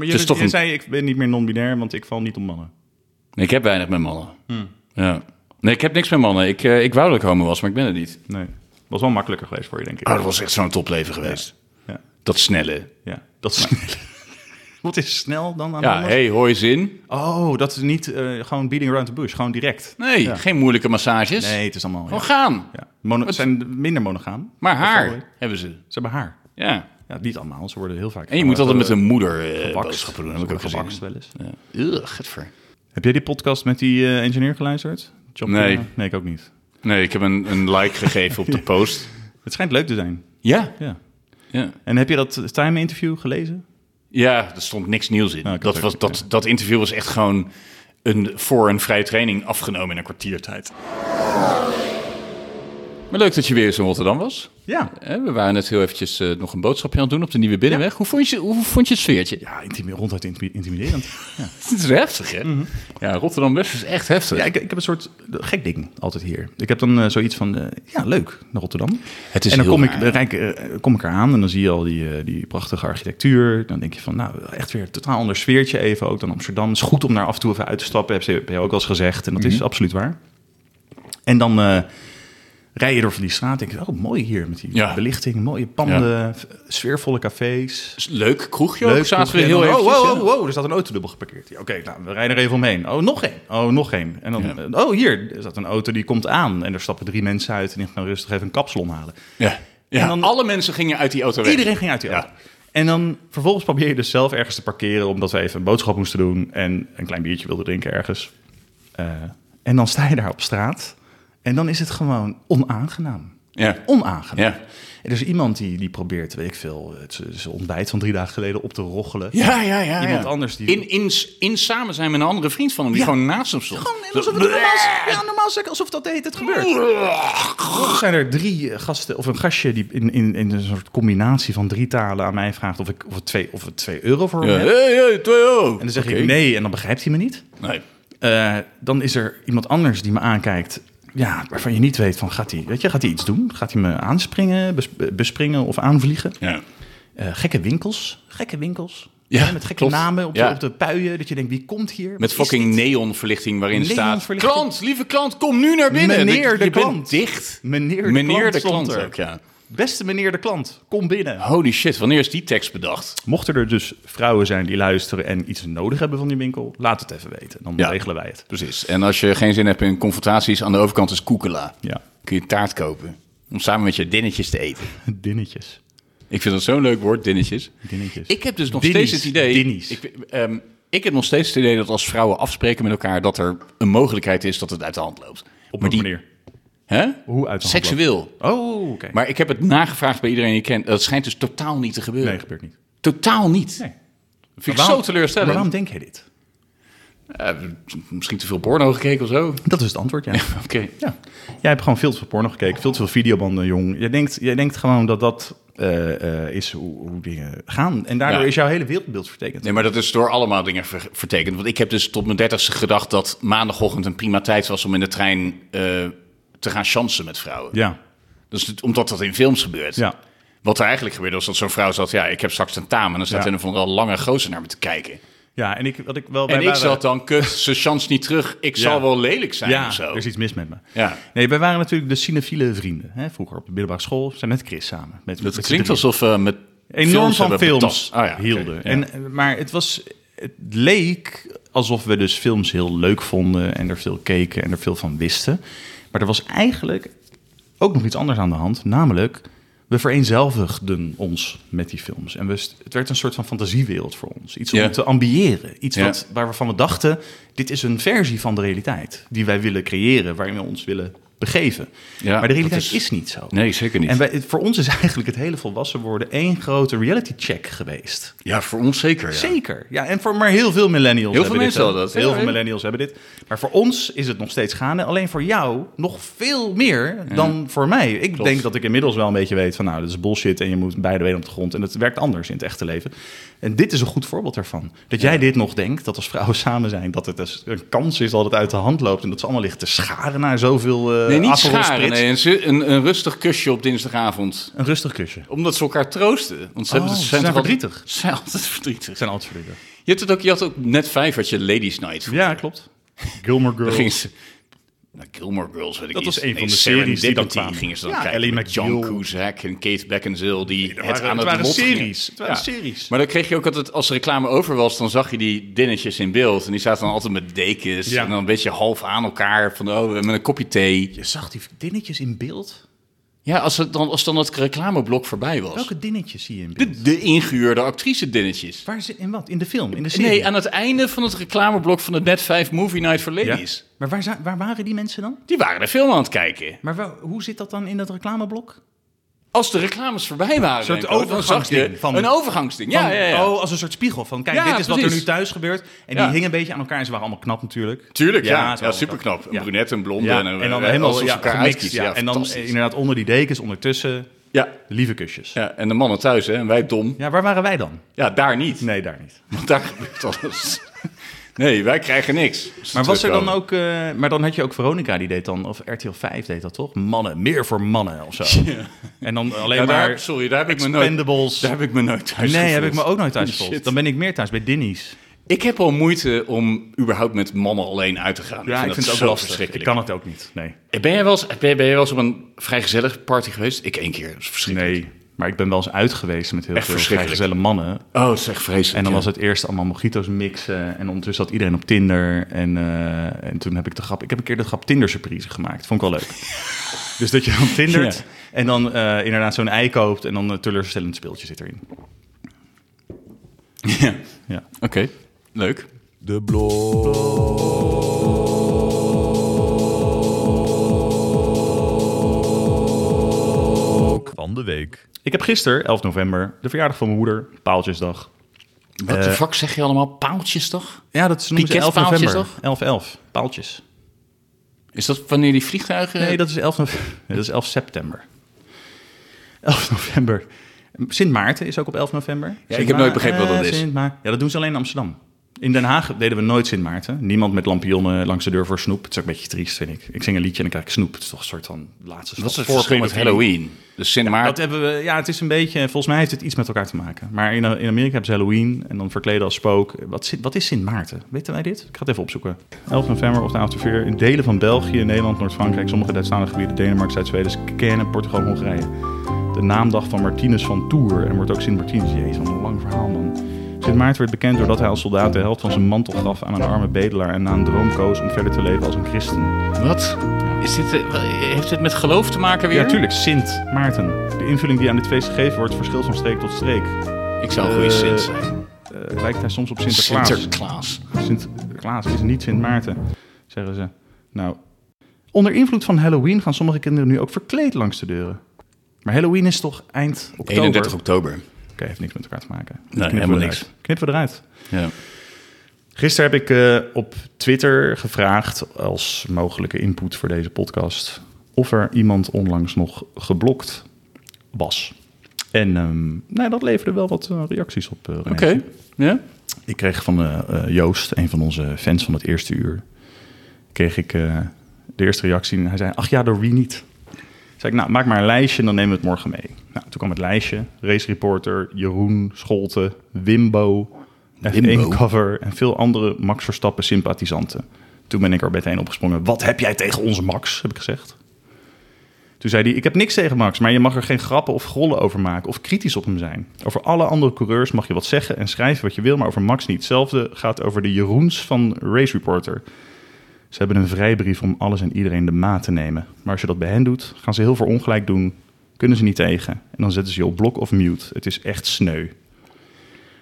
C: Het
B: je,
C: is toch
B: je
C: een-
B: zei, ik ben niet meer non-binair, want ik val niet op mannen.
C: Nee, ik heb weinig met mannen. Ja. Nee, ik heb niks met mannen. Ik, eh, ik wou dat ik homo was, maar ik ben het niet.
B: Nee. Was wel makkelijker geweest voor je, denk ik.
C: Oh, dat was echt zo'n topleven geweest.
B: Ja.
C: Dat snelle.
B: Ja, dat is snel. Wat is snel dan aan
C: Ja,
B: alles?
C: hey, hooi zin.
B: Oh, dat is niet eh, gewoon beating around the bush. Gewoon direct.
C: Nee,
B: Ja.
C: geen moeilijke massages.
B: Nee, het is allemaal...
C: Gewoon
B: ja.
C: gaan.
B: Ja. Mono- zijn minder monogaam.
C: Maar haar
B: Dat is wel leuk.
C: hebben ze.
B: Ze hebben haar.
C: Ja.
B: Ja, niet allemaal. Ze worden heel vaak...
C: En je moet altijd met een moeder eh
B: gebakst.
C: boodschappen doen.
B: Ze
C: Dat heb ik ook
B: worden
C: gezien.
B: gebakst wel eens.
C: Ja. Ugh, gadver.
B: Heb jij die podcast met die eh, engineer geluisterd? Job
C: Nee.
B: Pena? Nee, ik ook niet.
C: Nee, ik heb een, een like gegeven op de post.
B: Het schijnt leuk te zijn.
C: Ja.
B: Ja.
C: Ja,
B: En heb je dat time interview gelezen?
C: ja er stond niks nieuws in.
B: Nou, ik had
C: dat,
B: ook-
C: was, dat, dat interview was echt gewoon een, voor een vrije training afgenomen in een kwartiertijd. Maar leuk dat je weer eens in Rotterdam was.
B: Ja.
C: Hè, We waren net heel eventjes eh, nog een boodschapje aan het doen op de Nieuwe Binnenweg. Hoe, vond je, hoe vond je het sfeertje?
B: Ja, intimi- ronduit intimi- intimiderend.
C: Het is heftig, hè? Ja, Rotterdam West is echt heftig.
B: Ja, ik, ik heb een soort gek ding altijd hier. Ik heb dan eh, zoiets van, eh, ja, leuk, naar Rotterdam.
C: Het is
B: en dan
C: heel
B: kom
C: raar,
B: ik, dan rijd ik, eh, kom ik eraan en dan zie je al die, eh, die prachtige architectuur. Dan denk je van, nou, echt weer een totaal ander sfeertje even ook dan Amsterdam. Het is goed om daar af en toe even uit te stappen, heb je- heb je ook al eens gezegd. En dat
C: Mhm.
B: is absoluut waar. En dan eh, rij je door van die straat denk je, oh, mooi hier met die
C: Ja.
B: belichting. Mooie panden, v- sfeervolle cafés.
C: Is Leuk kroegje ook,
B: Leuk,
C: zaten we
B: en
C: heel
B: dan,
C: eventjes.
B: Oh,
C: ja.
B: oh, oh, oh, er staat een auto dubbel geparkeerd. Ja, Oké, nou, we rijden er even omheen. Oh, nog één. Oh, nog één. En dan,
C: Ja.
B: eh, oh, hier, er staat een auto die komt aan. En er stappen drie mensen uit en die gaan rustig even een kapsalon halen.
C: Ja. Ja,
B: En dan-
C: alle mensen gingen uit die auto weg.
B: Iedereen ging uit die
C: Ja.
B: auto. En dan vervolgens probeer je dus zelf ergens te parkeren... omdat we even een boodschap moesten doen... en een klein biertje wilden drinken ergens. Eh, en dan sta je daar op straat. En dan is het gewoon onaangenaam.
C: Ja.
B: Onaangenaam.
C: Ja.
B: Er is iemand die, die probeert, weet ik veel... het zijn ontbijt van drie dagen geleden op te roggelen.
C: Ja, ja, ja.
B: Iemand
C: ja.
B: anders die-
C: In, in, in samen zijn met een andere vriend van hem, die
B: Ja.
C: gewoon naast hem stond.
B: Gewoon alsof het normaal, ja, normaal zeg, alsof dat de hele tijd gebeurt. Vervolgens zijn er drie eh, gasten of een gastje die in, in, in een soort combinatie van drie talen aan mij vraagt of ik of het twee, of het twee euro voor hem
C: Ja,
B: heb.
C: hey, hey, twee euro.
B: En dan zeg ik nee en dan begrijpt hij me niet.
C: Nee.
B: Eh, dan is er iemand anders die me aankijkt. Ja, waarvan je niet weet van gaat hij, weet je, gaat hij iets doen? Gaat hij me aanspringen, bes- bespringen of aanvliegen?
C: Ja.
B: Eh, gekke winkels, gekke winkels.
C: Ja,
B: Ja, met gekke
C: klopt.
B: namen op, de-
C: Ja.
B: op de puien. Dat je denkt, wie komt hier?
C: Met fucking neonverlichting waarin staat...
B: Neonverlichting.
C: Klant, lieve klant, kom nu naar binnen.
B: Meneer de
C: Je bent
B: klant.
C: dicht.
B: Meneer de
C: Meneer
B: klant
C: de
B: stond
C: klant
B: er.
C: ook, ja.
B: Beste meneer de klant, kom binnen.
C: Holy shit, wanneer is die tekst bedacht?
B: Mochten er dus vrouwen zijn die luisteren en iets nodig hebben van die winkel, laat het even weten. Dan
C: Ja.
B: regelen wij het.
C: Precies. En als je geen zin hebt in confrontaties, aan de overkant is koekela.
B: Ja.
C: Kun je taart kopen. Om samen met je dinnetjes te eten.
B: Dinnetjes.
C: Ik vind dat zo'n leuk woord, dinnetjes.
B: Dinnetjes.
C: Ik heb dus nog
B: Dinnies.
C: steeds het idee.
B: Dinnies.
C: Ik, ehm, ik heb nog steeds het idee dat als vrouwen afspreken met elkaar, dat er een mogelijkheid is dat het uit de hand loopt.
B: Op
C: Maar
B: een
C: die-
B: manier.
C: Hè?
B: Hoe uit de hand
C: Seksueel.
B: Oh, oké.
C: Maar ik heb het nagevraagd bij iedereen die ik ken. Dat schijnt dus totaal niet te gebeuren.
B: Nee, gebeurt niet.
C: Totaal niet.
B: Nee.
C: Vind ik
B: Maar
C: zo
B: waarom-
C: teleurstellend.
B: Maar waarom denk jij dit?
C: Eh, misschien te veel porno gekeken of zo.
B: Dat is het antwoord, ja.
C: Oké.
B: ja. Jij hebt gewoon veel te veel porno gekeken, veel te veel videobanden, jong. Jij denkt, jij denkt gewoon dat dat eh, eh, is hoe, hoe dingen gaan. En daardoor
C: Ja.
B: is jouw hele wereldbeeld vertekend.
C: Nee, maar dat is door allemaal dingen ver- vertekend. Want ik heb dus tot mijn dertigste gedacht dat maandagochtend een prima tijd was om in de trein eh, te gaan chansen met vrouwen.
B: Ja,
C: Dus het- omdat dat in films gebeurt.
B: Ja.
C: Wat er eigenlijk gebeurde was dat zo'n vrouw zat... ja, ik heb straks een taam. En dan zat
B: Ja.
C: er een van een lange gozer naar me te kijken.
B: ja en ik, wat ik wel
C: en ik
B: waren-
C: zat dan, kut, ze chance niet terug. Ik zal wel lelijk zijn
B: Ja,
C: of zo.
B: er is iets mis met me.
C: Ja.
B: Nee, wij waren natuurlijk de cinefiele vrienden. Hè? Vroeger op de middelbare school. We zijn met Chris samen. Met, met z'n
C: Dat klinkt
B: drieën.
C: alsof we met
B: Enorm
C: films
B: van
C: hebben
B: films
C: betast. Ah, ja, oké.
B: hielden.
C: Ja.
B: En, eh, maar het, was, het leek alsof we dus films heel leuk vonden... en er veel keken en er veel van wisten. Maar er was eigenlijk ook nog iets anders aan de hand. Namelijk, we vereenzelvigden ons met die films. En we, st- het werd een soort van fantasiewereld voor ons. Iets om
C: Ja.
B: te ambiëren. Iets
C: Ja.
B: wat, waarvan we dachten, dit is een versie van de realiteit... die wij willen creëren, waarin we ons willen begeven.
C: Ja,
B: maar de realiteit
C: dat
B: is,
C: is-
B: niet zo.
C: Nee, zeker niet.
B: En wij, het- voor ons is eigenlijk het hele volwassen worden één grote reality check geweest.
C: Ja, voor ons zeker. Ja.
B: Zeker. Ja, en voor maar heel veel millennials
C: Heel
B: hebben
C: veel
B: dit.
C: mensen
B: hè.
C: hadden dat.
B: Heel
C: Ja,
B: veel
C: hè?
B: millennials hebben dit. Maar voor ons is het nog steeds gaande. Alleen voor jou nog veel meer dan voor mij. Ik denk dat ik inmiddels wel een beetje weet van nou, dat is bullshit en je moet beide benen op de grond. En het werkt anders in het echte leven. En dit is een goed voorbeeld daarvan. Dat jij dit nog denkt, dat als vrouwen samen zijn, dat het dus een kans is dat het uit de hand loopt. En dat ze allemaal liggen te scharen naar zoveel eh,
C: Nee, niet
B: Aperol
C: scharen.
B: Spritz.
C: Nee, een, zu- een, een rustig kusje op dinsdagavond.
B: Een rustig kusje. Ze
C: Omdat ze elkaar troosten. Want ze,
B: Oh,
C: hebben,
B: ze zijn
C: toch altijd-
B: verdrietig.
C: Ze zijn altijd verdrietig.
B: zijn altijd verdrietig.
C: Je had, het ook, je had ook net vijf, had je Ladies Night.
B: Ja, klopt. Gilmore
C: Dan gingen
B: Girls.
C: ze... Nou, Gilmore Girls, weet ik
B: Dat
C: niet.
B: was een van
C: Nee,
B: de series die dan
C: Serendipity
B: kwamen.
C: gingen ze dan
B: Ja,
C: kijken
B: Ellie
C: met John
B: McBeal.
C: Cusack en Kate Beckinsale. Die
B: er
C: het
B: waren-
C: aan
B: het
C: het
B: waren
C: lot gingen.
B: series. Het waren series.
C: Maar dan kreeg je ook altijd, als de reclame over was, dan zag je die dinnetjes in beeld. En die zaten dan altijd met dekens.
B: Ja.
C: En dan een beetje half aan elkaar. Van, oh, met een kopje thee.
B: Je zag die dinnetjes in beeld.
C: Ja, als, het dan, als dan dat reclameblok voorbij was.
B: Welke dinnetjes zie je in beeld?
C: De, de ingehuurde actrice-dinnetjes.
B: Waar zit, in wat? In de film? In de serie?
C: Nee, aan het einde van het reclameblok van de Net 5 Movie Night for
B: Ja.
C: Ladies.
B: Maar waar, za- waar waren die mensen dan?
C: Die waren de film aan het kijken.
B: Maar wel- hoe zit dat dan in dat reclameblok?
C: Als de reclames voorbij waren,
B: soort
C: Remco, dan zag je
B: overgangsding van-
C: een overgangsding. Ja,
B: Van-
C: ja, ja.
B: Oh, als een soort spiegel. Van kijk,
C: Ja,
B: dit is wat er
C: precies.
B: nu thuis gebeurt. En
C: Ja.
B: die hingen een beetje aan elkaar. En ze waren allemaal knap natuurlijk.
C: Tuurlijk,
B: ze
C: ja.
B: waren
C: ja,
B: allemaal
C: superknap. Een
B: Ja.
C: brunet, een blonde.
B: Ja,
C: en, een-
B: en dan
C: eh,
B: helemaal
C: alsof ze
B: ja,
C: elkaar
B: gemixt.
C: uitkiezen.
B: Ja. En dan eh,
C: fantastisch.
B: inderdaad onder die dekens, ondertussen
C: ja.
B: de lieve kusjes. Ja.
C: ja, en de mannen thuis, hè. En wij dom.
B: waar waren wij dan?
C: Ja, daar niet.
B: Nee, daar niet.
C: Want daar gebeurt alles. Nee, wij krijgen niks. als ze
B: Maar was er dan
C: terugkomen.
B: ook... eh, maar dan had je ook Veronica, die deed dan... Of RTL 5 deed dat toch? Mannen, meer voor mannen of zo. En dan alleen
C: Ja, daar,
B: maar...
C: sorry, daar heb ik me nooit...
B: Expendables.
C: Daar heb ik me nooit thuis
B: Nee, heb ik
C: gevoeld.
B: me ook nooit thuis
C: Shit.
B: gevoeld. Dan ben ik meer thuis bij Dinny's.
C: Ik heb al moeite om überhaupt met mannen alleen uit te gaan.
B: Ja, ik vind het ook
C: zo
B: lastig. Ik
C: verschrikkelijk.
B: kan het ook niet. Nee.
C: Ben jij wel eens, ben jij, ben jij wel eens op een vrijgezellig party geweest? Ik één keer. Dat is verschrikkelijk.
B: Nee. Maar ik ben wel eens uit geweest met heel
C: Echt
B: veel
C: verschrikkelijk.
B: vrijgezelle mannen.
C: Oh, dat is echt vreselijk.
B: En dan
C: ja.
B: was het eerst allemaal mojito's mixen. En ondertussen zat iedereen op Tinder. En, eh, en toen heb ik de grap... Ik heb een keer de grap Tinder surprise gemaakt. Vond ik wel leuk. dus dat je dan tindert.
C: Ja.
B: En dan eh, inderdaad zo'n ei koopt. En dan een teleurstellend speeltje zit erin.
C: Ja. Oké,
B: Ja.
C: leuk.
E: De blok. Van de week.
B: Ik heb gisteren, 11 november, de verjaardag van mijn moeder. Paaltjesdag.
C: Wat
B: Eh,
C: de fuck zeg je allemaal? Paaltjes toch?
B: Ja, dat is noemen ze 11
C: Piketpaaltjes,
B: november. 11-11. Paaltjes.
C: Is dat wanneer die vliegtuigen...
B: Nee, dat is 11, nove- nee, dat is 11 september. 11 november. Sint Maarten is ook op 11 november. Sint
C: ik heb nooit begrepen wat dat
B: Maarten,
C: is.
B: Sint Ma- ja, dat doen ze alleen in Amsterdam. In Den Haag deden we nooit Sint Maarten. Niemand met lampionnen langs de deur voor snoep. Het is ook een beetje triest, vind ik. Ik zing een liedje en dan krijg ik snoep. Het is toch een soort van laatste
C: Wat is
B: voorproef
C: het verschil met
B: van-
C: Halloween? Dus Sint
B: Dat
C: Maarten...
B: hebben we, ja, het is een beetje, volgens mij heeft het iets met elkaar te maken. Maar in, in Amerika hebben ze Halloween en dan verkleden als spook. Wat, zit- wat is Sint Maarten? Weten wij dit? Ik ga het even opzoeken. 11 november of de avond ervoor in delen van België, Nederland, Noord-Frankrijk, sommige Duitsstalige gebieden, Denemarken, Zuid-Zweden, Kenen, Portugal, Hongarije. De naamdag van Martinus van Tours en wordt ook Sint Martinus. Jezus, wat een lang verhaal man. Sint Maarten werd bekend doordat hij als soldaat de helft van zijn mantel gaf aan een arme bedelaar en na een droom koos om verder te leven als een christen.
C: Wat? Is dit, eh, heeft dit met geloof te maken weer?
B: Ja, tuurlijk, Sint Maarten. De invulling die aan dit feest gegeven wordt verschilt van streek tot streek.
C: Ik zou een goede
B: Eh,
C: Sint zijn.
B: Eh, lijkt hij soms op Sinterklaas.
C: Sinterklaas.
B: Sinterklaas is niet Sint Maarten, zeggen ze. Nou, onder invloed van Halloween gaan sommige kinderen nu ook verkleed langs de deuren. Maar Halloween is toch eind oktober?
C: 31
B: Oké,
C: oktober.
B: heeft niks met elkaar te maken. Die
C: helemaal
B: knippen we
C: niks.
B: eruit. Knippen we eruit.
C: Ja.
B: Gisteren heb ik eh, op Twitter gevraagd als mogelijke input voor deze podcast of er iemand onlangs nog geblokt was. En ehm, nou, dat leverde wel wat eh, reacties op. eh, René.
C: Oké. Ja?
B: Ik kreeg van eh, eh, Joost, een van onze fans van het eerste uur, kreeg ik eh, de eerste reactie en hij zei, ach ja, door wie niet? Zei ik, nou, maak maar een lijstje en dan nemen we het morgen mee. Nou, toen kwam het lijstje. Race Reporter, Jeroen, Scholte, Wimbo,
C: Wimbo?
B: F1 Cover en veel andere Max Verstappen sympathisanten. Toen ben ik er meteen opgesprongen. Wat heb jij tegen onze Max, heb ik gezegd. Toen zei hij, ik heb niks tegen Max, maar je mag er geen grappen of grollen over maken of kritisch op hem zijn. Over alle andere coureurs mag je wat zeggen en schrijven wat je wil, maar over Max niet. Hetzelfde gaat over de Jeroens van Race Reporter. Ze hebben een vrijbrief om alles en iedereen de maat te nemen. Maar als je dat bij hen doet, gaan ze heel veel ongelijk doen, kunnen ze niet tegen. En dan zetten ze je op blok of mute. Het is echt sneu.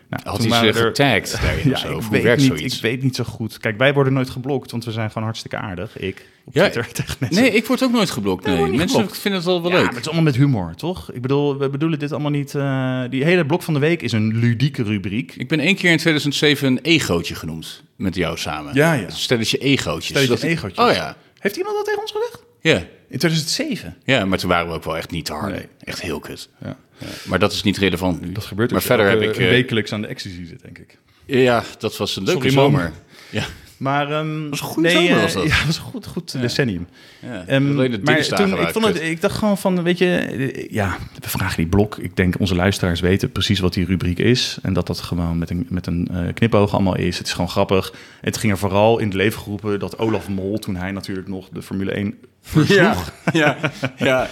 B: Nou,
C: Had
B: toen
C: hij ze
B: waren er-
C: getagd daarin of
B: Ja,
C: zo?
B: ik
C: Of hoe
B: weet,
C: werkt
B: niet,
C: zoiets?
B: ik weet niet zo goed. Kijk, wij worden nooit geblokt, want we zijn gewoon hartstikke aardig. Ik op
C: Ja,
B: Twitter tegen mensen.
C: Nee, ik word ook nooit geblokt. Nee.
B: word niet
C: Mensen
B: geblokt.
C: vinden het wel wel
B: Ja,
C: leuk.
B: maar het is allemaal met humor, toch? Ik bedoel, we bedoelen dit allemaal niet... eh, die hele blok van de week is een ludieke rubriek.
C: Ik ben één keer in 2007 een egootje genoemd. Met jou samen.
B: Ja, ja.
C: Stelletje egootjes.
B: Stelletje
C: Dat-
B: egootjes.
C: Oh ja.
B: Heeft iemand dat tegen ons gezegd?
C: Ja.
B: In 2007?
C: ja, maar toen waren we ook wel echt niet te hard.
B: Nee.
C: Echt heel kut.
B: Ja.
C: Maar dat is niet relevant nu.
B: Dat gebeurt
C: Maar
B: ook
C: verder
B: elke-
C: heb ik... eh,
B: wekelijks aan de ecstasy zit, denk ik.
C: ja, dat was een leuke
B: Sorry, man.
C: zomer. Ja.
B: Maar, ehm
C: was een goede
B: nee,
C: zomer,
B: eh,
C: was dat?
B: Ja, dat was een goed, goed eh, decennium.
C: Ja,
B: Ehm,
C: dat alleen de
B: maar
C: dinsdagen
B: toen, ik,
C: waren
B: vond het,
C: kut.
B: ik dacht gewoon van, weet je, eh, ja, we vragen die blok. Ik denk onze luisteraars weten precies wat die rubriek is. En dat dat gewoon met een, met een eh, knipoog allemaal is. Het is gewoon grappig. Het ging er vooral in het leven geroepen dat Olaf Mol, toen hij natuurlijk nog de Formule 1
C: ja, ja, ja.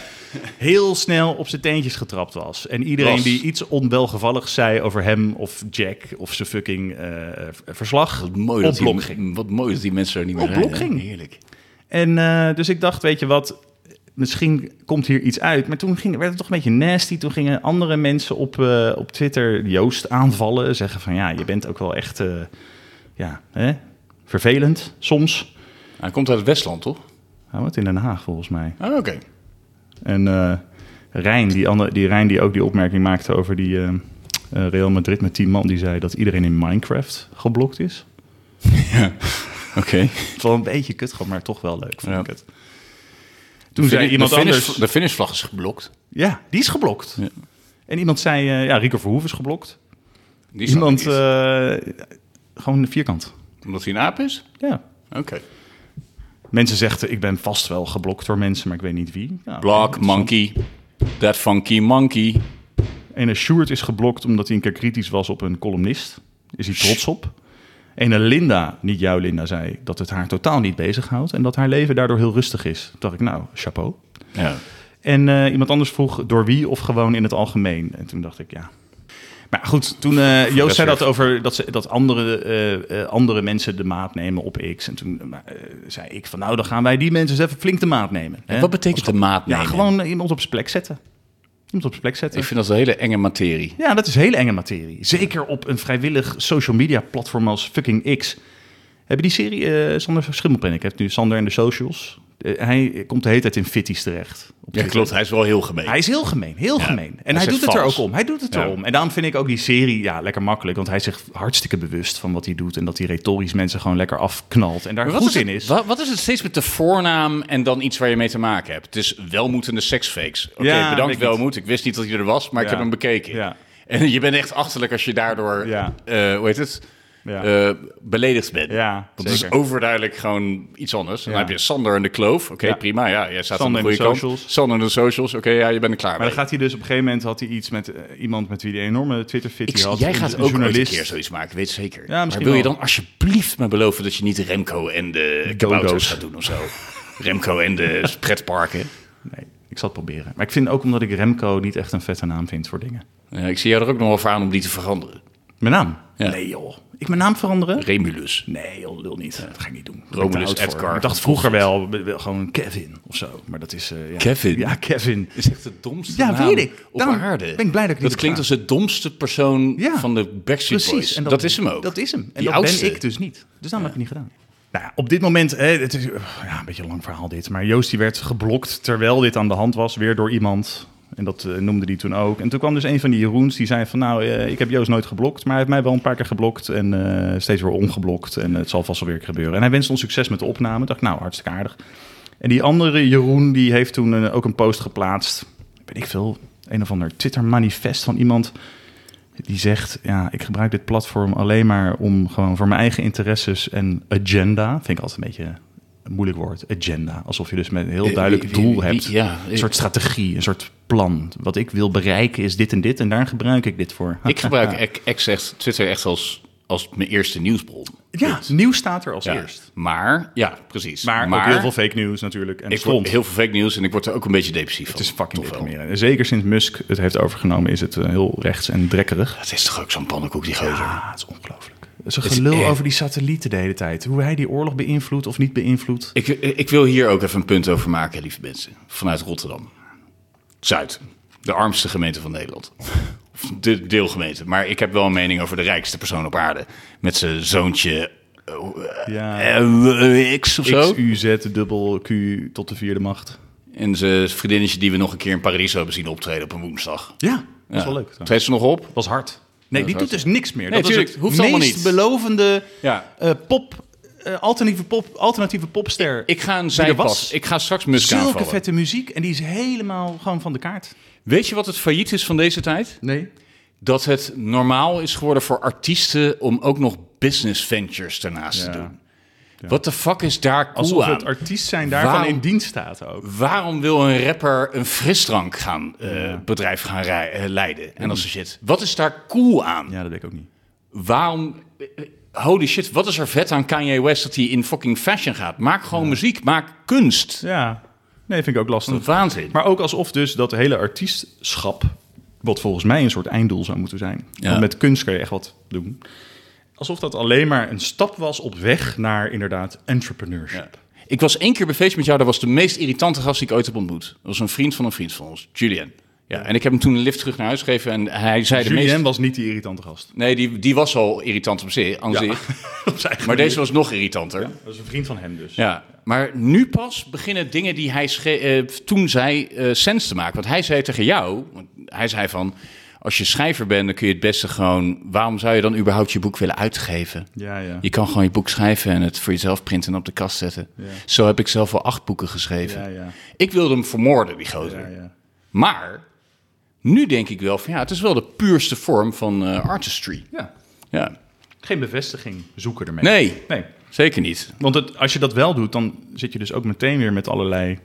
B: heel snel op zijn teentjes getrapt was. En iedereen
C: Was.
B: die iets onwelgevalligs zei over hem of Jack of zijn fucking eh, v- verslag,
C: Wat mooi, dat
B: op blok ging.
C: die, wat mooi dat die mensen er niet meer
B: Op blok
C: rijden.
B: ging.
C: Heerlijk.
B: En eh, dus ik dacht, weet je wat, misschien komt hier iets uit. Maar toen ging, werd het toch een beetje nasty. Toen gingen andere mensen op, eh, op Twitter Joost aanvallen. Zeggen van, ja, je bent ook wel echt eh, ja, hè, vervelend soms.
C: Hij komt uit het Westland, toch?
B: Hij woont in Den Haag volgens mij.
C: Ah, oké.
B: En eh, Rijn, die ander, die Rijn die ook die opmerking maakte over die eh, eh, Real Madrid met 10 man, die zei dat iedereen in Minecraft geblokt is.
C: Oké.
B: Het was wel een beetje kut, gewoon, maar toch wel leuk, vond
C: Ja.
B: ik het. Toen zei
C: Finish-
B: iemand
C: de finish-
B: anders...
C: De finishvlag is geblokt.
B: Ja, die is geblokt.
C: Ja.
B: En iemand zei, eh, ja, Rico Verhoeven is geblokt.
C: Die snap
B: iemand,
C: ik niet.
B: eh, gewoon vierkant.
C: Omdat hij een aap is?
B: Ja.
C: Oké.
B: Mensen zeggen, ik ben vast wel geblokt door mensen, maar ik weet niet wie. Ja,
C: Block, monkey. That funky monkey.
B: Ene Sjoerd is geblokt omdat hij een keer kritisch was op een columnist. Is hij trots op. Ene Linda, niet jouw Linda, zei dat het haar totaal niet bezighoudt... en dat haar leven daardoor heel rustig is. Toen dacht ik, nou, chapeau.
C: Ja.
B: En eh, iemand anders vroeg door wie of gewoon in het algemeen. En toen dacht ik ja. Maar goed, toen eh, Joost zei dat over dat, ze, dat andere, eh, eh, andere mensen de maat nemen op X. En toen eh, maar, eh, zei ik van nou, dan gaan wij die mensen eens even flink de maat nemen. hè?
C: Wat betekent de maat
B: Ja,
C: nemen?
B: gewoon iemand op zijn plek zetten. Iemand op zijn plek zetten.
C: Ik vind dat een hele enge materie.
B: Ja, dat is hele enge materie. Zeker op een vrijwillig social media platform als fucking X. Hebben die serie, eh, Sander Schimmelpenninck heeft nu Sander en de socials. Eh, hij komt de hele tijd in fitties terecht. Op Twitter.
C: Hij is wel heel gemeen.
B: Hij is heel gemeen, heel gemeen. En hij
C: zegt
B: doet het er
C: vals.
B: ook om. Hij doet het
C: Ja.
B: erom. En daarom vind ik ook die serie ja, lekker makkelijk. Want hij is zich hartstikke bewust van wat hij doet. En dat hij retorisch mensen gewoon lekker afknalt. En daar
C: Maar
B: goed
C: wat is
B: in
C: het-
B: is.
C: Wat, wat is het steeds met de voornaam en dan iets waar je mee te maken hebt? Het is welmoetende seksfakes. Oké,
B: Ja,
C: bedankt
B: weet ik
C: welmoed. Ik wist niet dat hij er was, maar ik
B: Ja.
C: heb hem bekeken.
B: Ja.
C: En je bent echt achterlijk als je daardoor,
B: Ja.
C: eh, hoe heet het,
B: Ja.
C: Eh, beledigd bent.
B: Ja,
C: Want het is
B: zeker.
C: overduidelijk gewoon iets anders. En
B: Ja.
C: Dan heb je Sander en de kloof. Oké,
B: Ja.
C: prima. Ja, jij staat
B: Sander
C: aan de
B: en de
C: goede kant.
B: socials.
C: Sander en de socials. Oké, ja, je bent er klaar
B: Maar
C: mee.
B: dan gaat hij dus op een gegeven moment had hij iets met eh, iemand met wie hij een enorme Twitter-fit
C: Ik-
B: had.
C: jij
B: Een-
C: gaat
B: een
C: ook ooit een
B: journalist.
C: keer zoiets maken, weet zeker. maar
B: misschien
C: wil je
B: wel.
C: dan alsjeblieft me beloven dat je niet Remco en de kabouters
B: Dodo's.
C: gaat doen of zo? Remco en de pretparken.
B: Nee, ik zal het proberen. Maar ik vind ook omdat ik Remco niet echt een vette naam vind voor dingen.
C: Eh, ik zie jou er ook nog wel voor aan om die te veranderen.
B: Mijn naam?
C: Ja.
B: Nee joh. Ik mijn naam veranderen?
C: Remulus.
B: Nee joh, lul niet. Dat ga ik niet doen.
C: Romulus
B: Ik ben te oud voor.
C: Edgar.
B: Ik dacht vroeger wel, wel gewoon Kevin of zo. Maar dat is... eh, ja.
C: Kevin?
B: Ja, Kevin.
C: is echt de domste
B: Ja,
C: naam
B: weet ik.
C: op
B: Daarom
C: aarde.
B: ben ik blij dat ik niet
C: klinkt
B: heb
C: als de domste persoon
B: Ja.
C: van de Backstreet Boys.
B: en
C: dat, is hem ook.
B: Dat is hem. En
C: Die
B: dat
C: oudste.
B: ben ik dus niet. Dus daarom heb ik het niet gedaan. Nou ja, op dit moment, hè, het is eh, ja, een beetje een lang verhaal dit, maar Joost die werd geblokt terwijl dit aan de hand was, weer door iemand. En dat eh, noemde die toen ook. En toen kwam dus een van die Jeroens die zei van nou, eh, ik heb Joost nooit geblokt, maar hij heeft mij wel een paar keer geblokt en eh, steeds weer ongeblokt. En het zal vast wel weer gebeuren. En hij wenste ons succes met de opname. Ik dacht nou, hartstikke aardig. En die andere Jeroen, die heeft toen eh, ook een post geplaatst. Weet ik veel, een of ander Twitter-manifest van iemand. Die zegt, ja, ik gebruik dit platform alleen maar om gewoon voor mijn eigen interesses en agenda. Vind ik altijd een beetje een moeilijk woord, agenda. Alsof je dus met een heel
C: Eh,
B: duidelijk
C: wie- wie-
B: doel
C: wie-
B: hebt.
C: ja,
B: Een soort strategie, een soort plan. Wat ik wil bereiken is dit en dit en daar gebruik ik dit voor.
C: Ik gebruik X echt, Twitter echt als, als mijn eerste nieuwsbron.
B: Ja, nieuws staat er als
C: Ja.
B: eerst.
C: Maar, ja, precies.
B: Maar, ook heel veel fake news natuurlijk. En
C: Ik
B: stront.
C: word heel veel fake nieuws en ik word er ook een beetje depressief van.
B: Het is fucking
C: Toch wel.
B: deprimerend. Zeker sinds Musk het heeft overgenomen is het eh, heel rechts en drekkerig.
C: Het is toch ook zo'n pannenkoek, die gozer.
B: Ah, het is ongelooflijk. Het is een
C: is
B: gelul
C: erg.
B: over die satellieten de hele tijd. Hoe hij die oorlog beïnvloedt of niet beïnvloedt.
C: Ik, ik wil hier ook even een punt over maken, lieve mensen. Vanuit Rotterdam. Zuid. De armste gemeente van Nederland. Of De deelgemeente. Maar ik heb wel een mening over de rijkste persoon op aarde. Met zijn zoontje
B: Ja,
C: eh, X of zo.
B: X, U, Z, dubbel Q tot de vierde macht.
C: En zijn vriendinnetje die we nog een keer in Paradiso hebben zien optreden op een woensdag.
B: Ja, dat is
C: Ja.
B: wel leuk.
C: Treedt ze nog op?
B: was hard. Nee, die doet dus niks meer. dat
C: Nee,
B: is
C: tuurlijk,
B: het
C: hoeft
B: meest
C: allemaal niet.
B: belovende
C: Ja.
B: eh, pop, eh, alternatieve, pop, alternatieve popster.
C: Ik ga een
B: die er was.
C: zijpas. Ik ga straks Musk
B: Zulke
C: aanvallen.
B: vette muziek en die is helemaal gewoon van de kaart.
C: Weet je wat het failliet is van deze tijd?
B: Nee.
C: dat het normaal is geworden voor artiesten om ook nog business ventures daarnaast
B: Ja.
C: te doen. Wat de fuck is daar cool
B: Alsof
C: aan?
B: het artiest zijn daarvan
C: Waarom-
B: in dienst staat ook.
C: Waarom wil een rapper een frisdrank gaan, eh, bedrijf gaan rij- eh, leiden?
B: Mm.
C: En dat soort shit. Wat is daar cool aan?
B: Ja, dat weet ik ook niet.
C: Waarom... Holy shit, wat is er vet aan Kanye West dat hij in fucking fashion gaat? Maak gewoon muziek, maak kunst.
B: Ja, nee, vind ik ook lastig.
C: Een waanzin.
B: Maar ook alsof dus dat hele artiestschap, wat volgens mij een soort einddoel zou moeten zijn.
C: Ja.
B: Want met kunst kan je echt wat doen. Alsof dat alleen maar een stap was op weg naar inderdaad entrepreneurship.
C: Ik was één keer bij feest met jou. Dat was de meest irritante gast die ik ooit heb ontmoet. Dat was een vriend van een vriend van ons, Julian. Ja, en ik heb hem toen een lift terug naar huis gegeven en hij zei de
B: Julien
C: meest...
B: was niet die irritante gast.
C: Nee, die, die was al irritant op zich, aan
B: Ja.
C: zich.
B: Op zijn eigen
C: Maar
B: manier.
C: deze was nog irritanter. Ja.
B: Dat is een vriend van hem dus.
C: Maar nu pas beginnen dingen die hij sche- eh, toen zei eh sens te maken. Want hij zei tegen jou, want hij zei van... Als je schrijver bent, dan kun je het beste gewoon... Waarom zou je dan überhaupt je boek willen uitgeven?
B: Ja, ja.
C: Je kan gewoon je boek schrijven en het voor jezelf printen en op de kast zetten. Zo heb ik zelf al acht boeken geschreven.
B: Ja, ja.
C: Ik wilde hem vermoorden, die gozer.
B: Ja, ja.
C: Maar nu denk ik wel van ja, het is wel de puurste vorm van eh, artistry.
B: Ja.
C: Ja,
B: Geen bevestiging zoeken ermee.
C: Nee.
B: nee.
C: zeker niet.
B: Want het, als je dat wel doet, dan zit je dus ook meteen weer met allerlei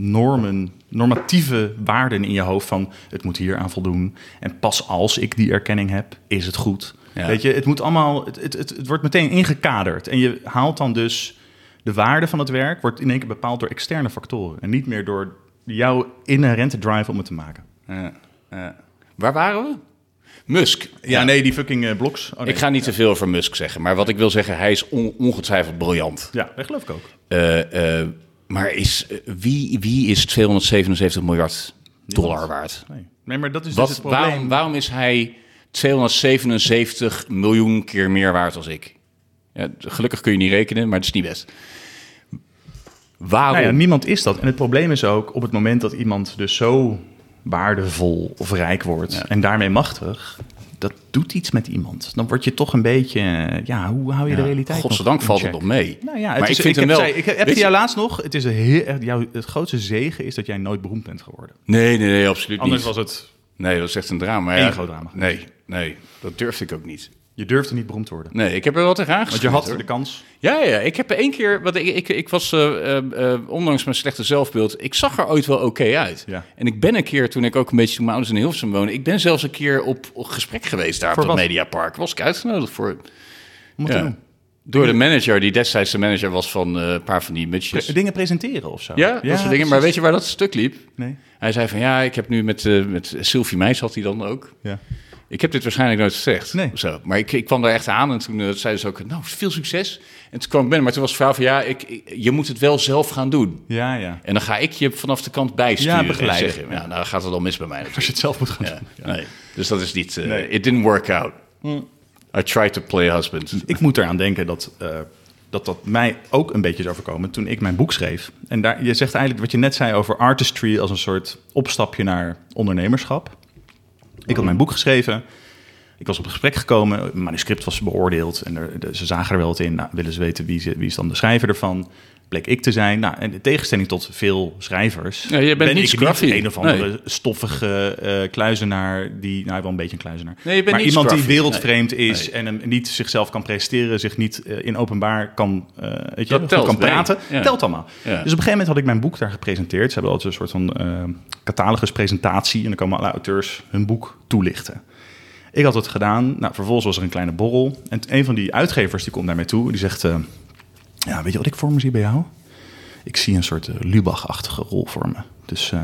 B: normen, normatieve waarden in je hoofd van het moet hier aan voldoen. En pas als ik die erkenning heb, is het goed.
C: Ja.
B: Weet je, het moet allemaal, het, het, het, het wordt meteen ingekaderd. En je haalt dan dus de waarde van het werk, wordt in één keer bepaald door externe factoren. En niet meer door jouw inherente drive om het te maken.
C: Ja, ja. Waar waren we? Musk.
B: Ja, nee, die fucking eh, bloks. Oh, nee.
C: Ik ga niet te veel over Musk zeggen, maar wat ik wil zeggen, hij is on- ongetwijfeld briljant.
B: Ja, dat geloof ik ook.
C: Eh, eh, maar is, eh, wie, wie is 277 miljard dollar waard?
B: Nee, nee maar dat is dus
C: Wat,
B: het probleem.
C: waarom, waarom is hij 277 miljoen keer meer waard als ik? Ja, gelukkig kun je niet rekenen, maar het is niet best. Waarom?
B: Nou ja, niemand is dat. En het probleem is ook op het moment dat iemand dus zo waardevol of rijk wordt en daarmee machtig, dat doet iets met iemand. Dan word je toch een beetje, eh, ja, hoe hou je de realiteit?
C: Godzijdank
B: nog
C: valt
B: in
C: het nog
B: check?
C: mee.
B: Nou ja, het
C: maar
B: is,
C: ik vind
B: ik
C: hem
B: heb,
C: wel.
B: zei- ik heb
C: weet
B: die
C: je-
B: laatst nog. Het is een heel, echt, jouw, het grootste zegen is dat jij nooit beroemd bent geworden.
C: Nee, nee, nee, absoluut
B: Anders
C: niet.
B: was het,
C: Nee, dat is echt een drama. Ja,
B: Eén groot drama.
C: Nee, nee, dat durfde ik ook niet.
B: je durfde niet beroemd te worden.
C: Nee, ik heb er wel tegenaan
B: Want je had
C: geschoten,
B: de kans.
C: Ja, ja, ik heb één keer, want ik, ik, ik was, eh, eh, eh, ondanks mijn slechte zelfbeeld, ik zag er ooit wel oké uit.
B: Ja.
C: En ik ben een keer, toen ik ook een beetje, toen mijn ouders in Hilversum woonde, ik ben zelfs een keer op, op gesprek geweest daar
B: Voor
C: op het
B: wat?
C: Mediapark. Was ik uitgenodigd voor,
B: Om het
C: ja,
B: te doen.
C: door de manager, die destijds de manager was van eh, een paar van die mutjes.
B: Pre- Dingen presenteren of zo.
C: ja, dat soort dingen. Maar
B: precies.
C: weet je waar dat stuk liep?
B: Nee.
C: Hij zei van, ja, ik heb nu met, eh, met Sylvie Meijs had hij dan ook.
B: Ja.
C: Ik heb dit waarschijnlijk nooit gezegd.
B: Nee.
C: Zo. Maar ik, ik kwam daar echt aan en toen eh, zeiden ze ook, nou, veel succes. En toen kwam ik binnen, maar toen was de vrouw van, ja, ik, ik- je moet het wel zelf gaan doen.
B: Ja, ja.
C: En dan ga ik je vanaf de kant bijsturen
B: Ja,
C: en
B: begeleiden.
C: zeggen, ja, nou gaat het al mis bij mij.
B: Als je het zelf moet gaan
C: Ja,
B: doen.
C: nee. Dus dat is niet, eh,
B: Nee. Hm.
C: it didn't work out. I tried to play husband.
B: Ik moet eraan denken dat, eh, dat dat mij ook een beetje is overkomen toen ik mijn boek schreef. En daar, je zegt eigenlijk wat je net zei over artistry als een soort opstapje naar ondernemerschap. Ik had mijn boek geschreven. Ik was op een gesprek gekomen. Mijn manuscript was beoordeeld. En er, de- ze zagen er wel wat in. Nou, willen ze weten wie, ze, wie is dan de schrijver ervan? Bleek ik te zijn. Nou, en in tegenstelling tot veel schrijvers...
C: Ja, jij bent niet
B: ik
C: Scruffy.
B: een of andere
C: Nee.
B: stoffige eh, kluizenaar. Die, nou, wel een beetje een kluizenaar.
C: Nee, je bent
B: maar
C: niet
B: iemand die
C: Scruffy.
B: wereldvreemd vreemd is
C: Nee.
B: en hem niet zichzelf kan presteren, zich niet eh, in openbaar kan, eh, weet je,
C: Dat
B: goed
C: telt
B: kan
C: mee.
B: praten,
C: Ja.
B: telt allemaal.
C: Ja.
B: Dus op een gegeven moment had ik mijn boek daar gepresenteerd. Ze hebben altijd een soort van eh, cataloguspresentatie en dan komen alle auteurs hun boek toelichten. Ik had het gedaan. Nou, vervolgens was er een kleine borrel. En t- een van die uitgevers die komt naar mij toe. Die zegt, eh, ja, weet je wat ik voor me zie bij jou? Ik zie een soort eh, Lubach-achtige rol voor me. Dus, eh,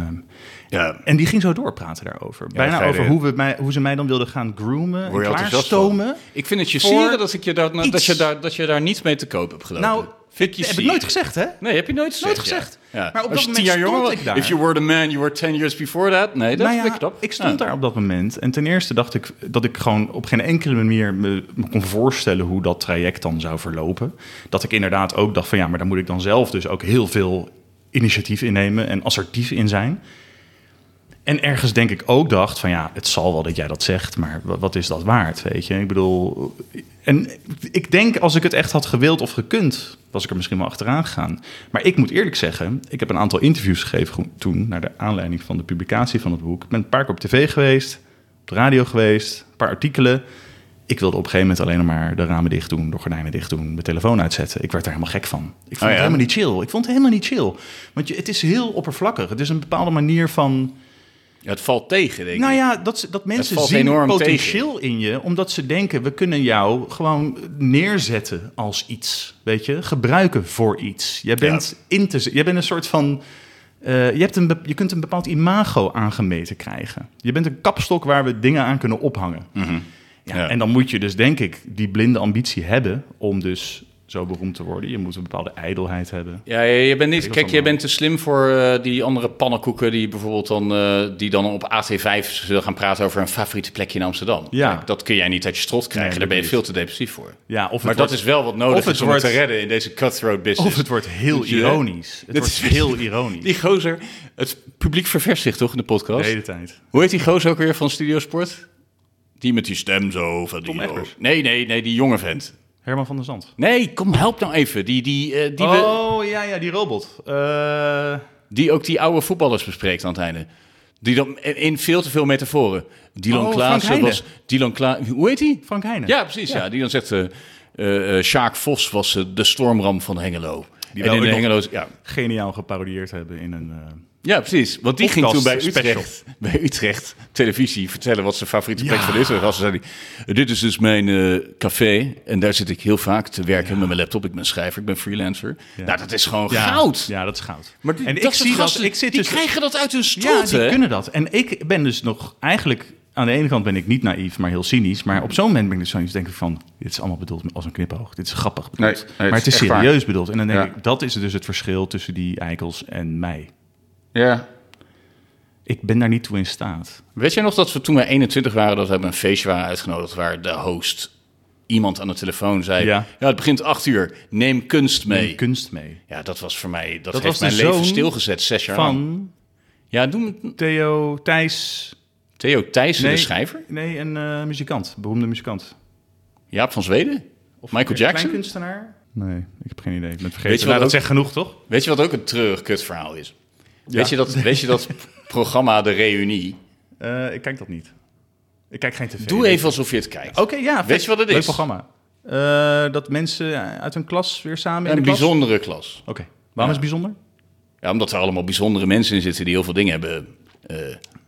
C: Ja.
B: En die ging zo doorpraten daarover.
C: dat
B: Bijna
C: zei
B: over
C: de-
B: hoe, we mij, hoe ze mij dan wilden gaan groomen en
C: Word je enthousiast van?
B: klaarstomen.
C: Ik vind het je
B: voor
C: sieren dat, ik je daar, dat,
B: iets.
C: je daar, dat je daar niet mee te koop hebt gelopen.
B: Nou,
C: vind ik
B: dat
C: je
B: heb ik
C: sieren.
B: nooit gezegd, hè?
C: Nee, heb je nooit gezegd.
B: Nooit gezegd.
C: ja. Ja.
B: Maar op
C: Als
B: dat
C: je tien
B: moment
C: jaar jonger
B: stond ik
C: was-
B: daar.
C: If you were the man, you were ten years before that. Nee, dat
B: Nou
C: vind
B: ja,
C: ik knap.
B: ik stond
C: Ja.
B: daar op dat moment. En ten eerste dacht ik dat ik gewoon op geen enkele manier me, me kon voorstellen hoe dat traject dan zou verlopen. Dat ik inderdaad ook dacht van ja, maar daar moet ik dan zelf dus ook heel veel initiatief innemen en assertief in zijn. En ergens denk ik ook dacht van ja, het zal wel dat jij dat zegt, maar wat, wat is dat waard, weet je? Ik bedoel, en ik denk als ik het echt had gewild of gekund, was ik er misschien wel achteraan gegaan. Maar ik moet eerlijk zeggen, ik heb een aantal interviews gegeven gro- toen, naar de aanleiding van de publicatie van het boek. Ik ben een paar keer op tv geweest, op de radio geweest, een paar artikelen. Ik wilde op een gegeven moment alleen nog maar de ramen dicht doen, de gordijnen dicht doen, mijn telefoon uitzetten. Ik werd daar helemaal gek van. Ik vond
C: ja?
B: het helemaal niet chill. Ik vond het helemaal niet chill. Want je, het is heel oppervlakkig. Het is een bepaalde manier van
C: Ja, het valt tegen, denk ik.
B: nou ja, dat, ze- dat mensen
C: valt
B: zien
C: enorm
B: potentieel in je, omdat ze denken, we kunnen jou gewoon neerzetten als iets. Weet je, gebruiken voor iets. Jij bent, in te, z- jij bent een soort van. eh, je, hebt een, be- je kunt een bepaald imago aangemeten krijgen. Je bent een kapstok waar we dingen aan kunnen ophangen. Ja,
C: Mhm. Ja.
B: En dan moet je dus, denk ik, die blinde ambitie hebben om dus zo beroemd te worden. Je moet een bepaalde ijdelheid hebben.
C: Ja, ja, je bent niet.
B: wat
C: Kijk,
B: dan
C: jij
B: wel.
C: bent te slim voor eh, die andere pannenkoeken die bijvoorbeeld dan, eh, die dan op AT5 zullen gaan praten over een favoriete plekje in Amsterdam.
B: Ja.
C: Kijk, dat kun jij niet uit je strot krijgen.
B: Nee,
C: Daar ben je
B: dat
C: veel te depressief voor.
B: Ja, of het
C: maar
B: wordt-
C: dat is wel wat
B: of
C: nodig
B: het
C: is om
B: wordt-
C: het te redden in deze cutthroat business.
B: Of het wordt heel
C: Weet je, hè?
B: ironisch. Het
C: Dit
B: wordt
C: is-
B: heel ironisch.
C: Die gozer, het publiek ververst zich toch in de podcast?
B: de hele tijd.
C: Hoe heet die gozer ook weer van Studiosport? Die met die stem zo van die.
B: Egbers.
C: Nee, nee, nee, die jonge vent.
B: Herman van der Zand.
C: Nee, kom, help nou even. Die, die, eh, die, we-
B: oh, ja, ja, die robot. Eh,
C: Die ook die oude voetballers bespreekt aan het einde. Die dan in veel te veel metaforen. Dylan
B: Oh,
C: Klaassen
B: Frank
C: was...
B: Heijnen.
C: Dylan Kla Hoe heet die?
B: Frank Heijnen.
C: Ja, precies. Ja. die dan zegt... eh eh, eh, Sjaak Vos was eh, de stormram van Hengelo. Die
B: wel
C: en in
B: ook nog-
C: Hengelo... is- Ja.
B: Geniaal geparodieerd hebben in een... eh,
C: ja, precies. Want die ging toen
B: Podcast
C: bij
B: special.
C: Utrecht, bij Utrecht televisie vertellen wat zijn favoriete plek van Utrecht was. Dan zei hij, dit is dus mijn eh, café en daar zit ik heel vaak te werken met mijn laptop. Ik ben schrijver, ik ben freelancer. Nou, dat is gewoon
B: ja,
C: goud.
B: Ja, dat is goud.
C: Maar die,
B: en
C: dat
B: ik
C: soort
B: zie dat,
C: gasten,
B: ik zit
C: die
B: dus...
C: krijgen dat uit hun
B: ja,
C: strot,
B: die
C: hè?
B: kunnen dat. En ik ben dus nog eigenlijk... Aan de ene kant ben ik niet naïef, maar heel cynisch. Maar op zo'n moment ben ik dus zoiets denk ik van... Dit is allemaal bedoeld als een knipoog. Dit is grappig bedoeld.
C: Nee, nee, het
B: maar het
C: is
B: is
C: echt waar.
B: serieus bedoeld. En dan denk
C: Ja.
B: ik, dat is dus het verschil tussen die eikels en mij.
C: Ja.
B: Ik ben daar niet toe in staat.
C: Weet jij nog dat we toen wij 21 waren, dat we bij een feestje waren uitgenodigd, waar de host iemand aan de telefoon zei: Ja,
B: Ja.
C: het begint 8 uur, neem kunst mee.
B: Neem kunst mee.
C: ja, dat was voor mij, dat,
B: Dat
C: heeft
B: was
C: mijn
B: de
C: leven
B: zoon
C: stilgezet, zes jaar lang.
B: Van
C: Ja, doen
B: Theo, Thijs...
C: Theo Thijssen, de schrijver?
B: Nee, een eh, muzikant. Beroemde muzikant.
C: Jaap van Zweden? Of Michael Jackson?
B: kunstenaar? Nee, ik heb geen idee. Ik ben het vergeten.
C: Weet je wat
B: Nou, dat
C: ook-
B: zegt genoeg, toch?
C: Weet je wat ook een treurig kutverhaal is? Weet, je dat, weet je dat programma De Reunie?
B: Eh, ik kijk dat niet. Ik kijk geen tv.
C: Doe even alsof je het kijkt.
B: Oké, ja. vet.
C: Weet je wat het
B: Leuk
C: is?
B: programma. Eh, dat mensen uit hun klas weer samen in
C: Een
B: de klas...
C: bijzondere klas.
B: Oké. Waarom is het bijzonder?
C: Ja, omdat er allemaal bijzondere mensen in zitten die heel veel dingen hebben eh,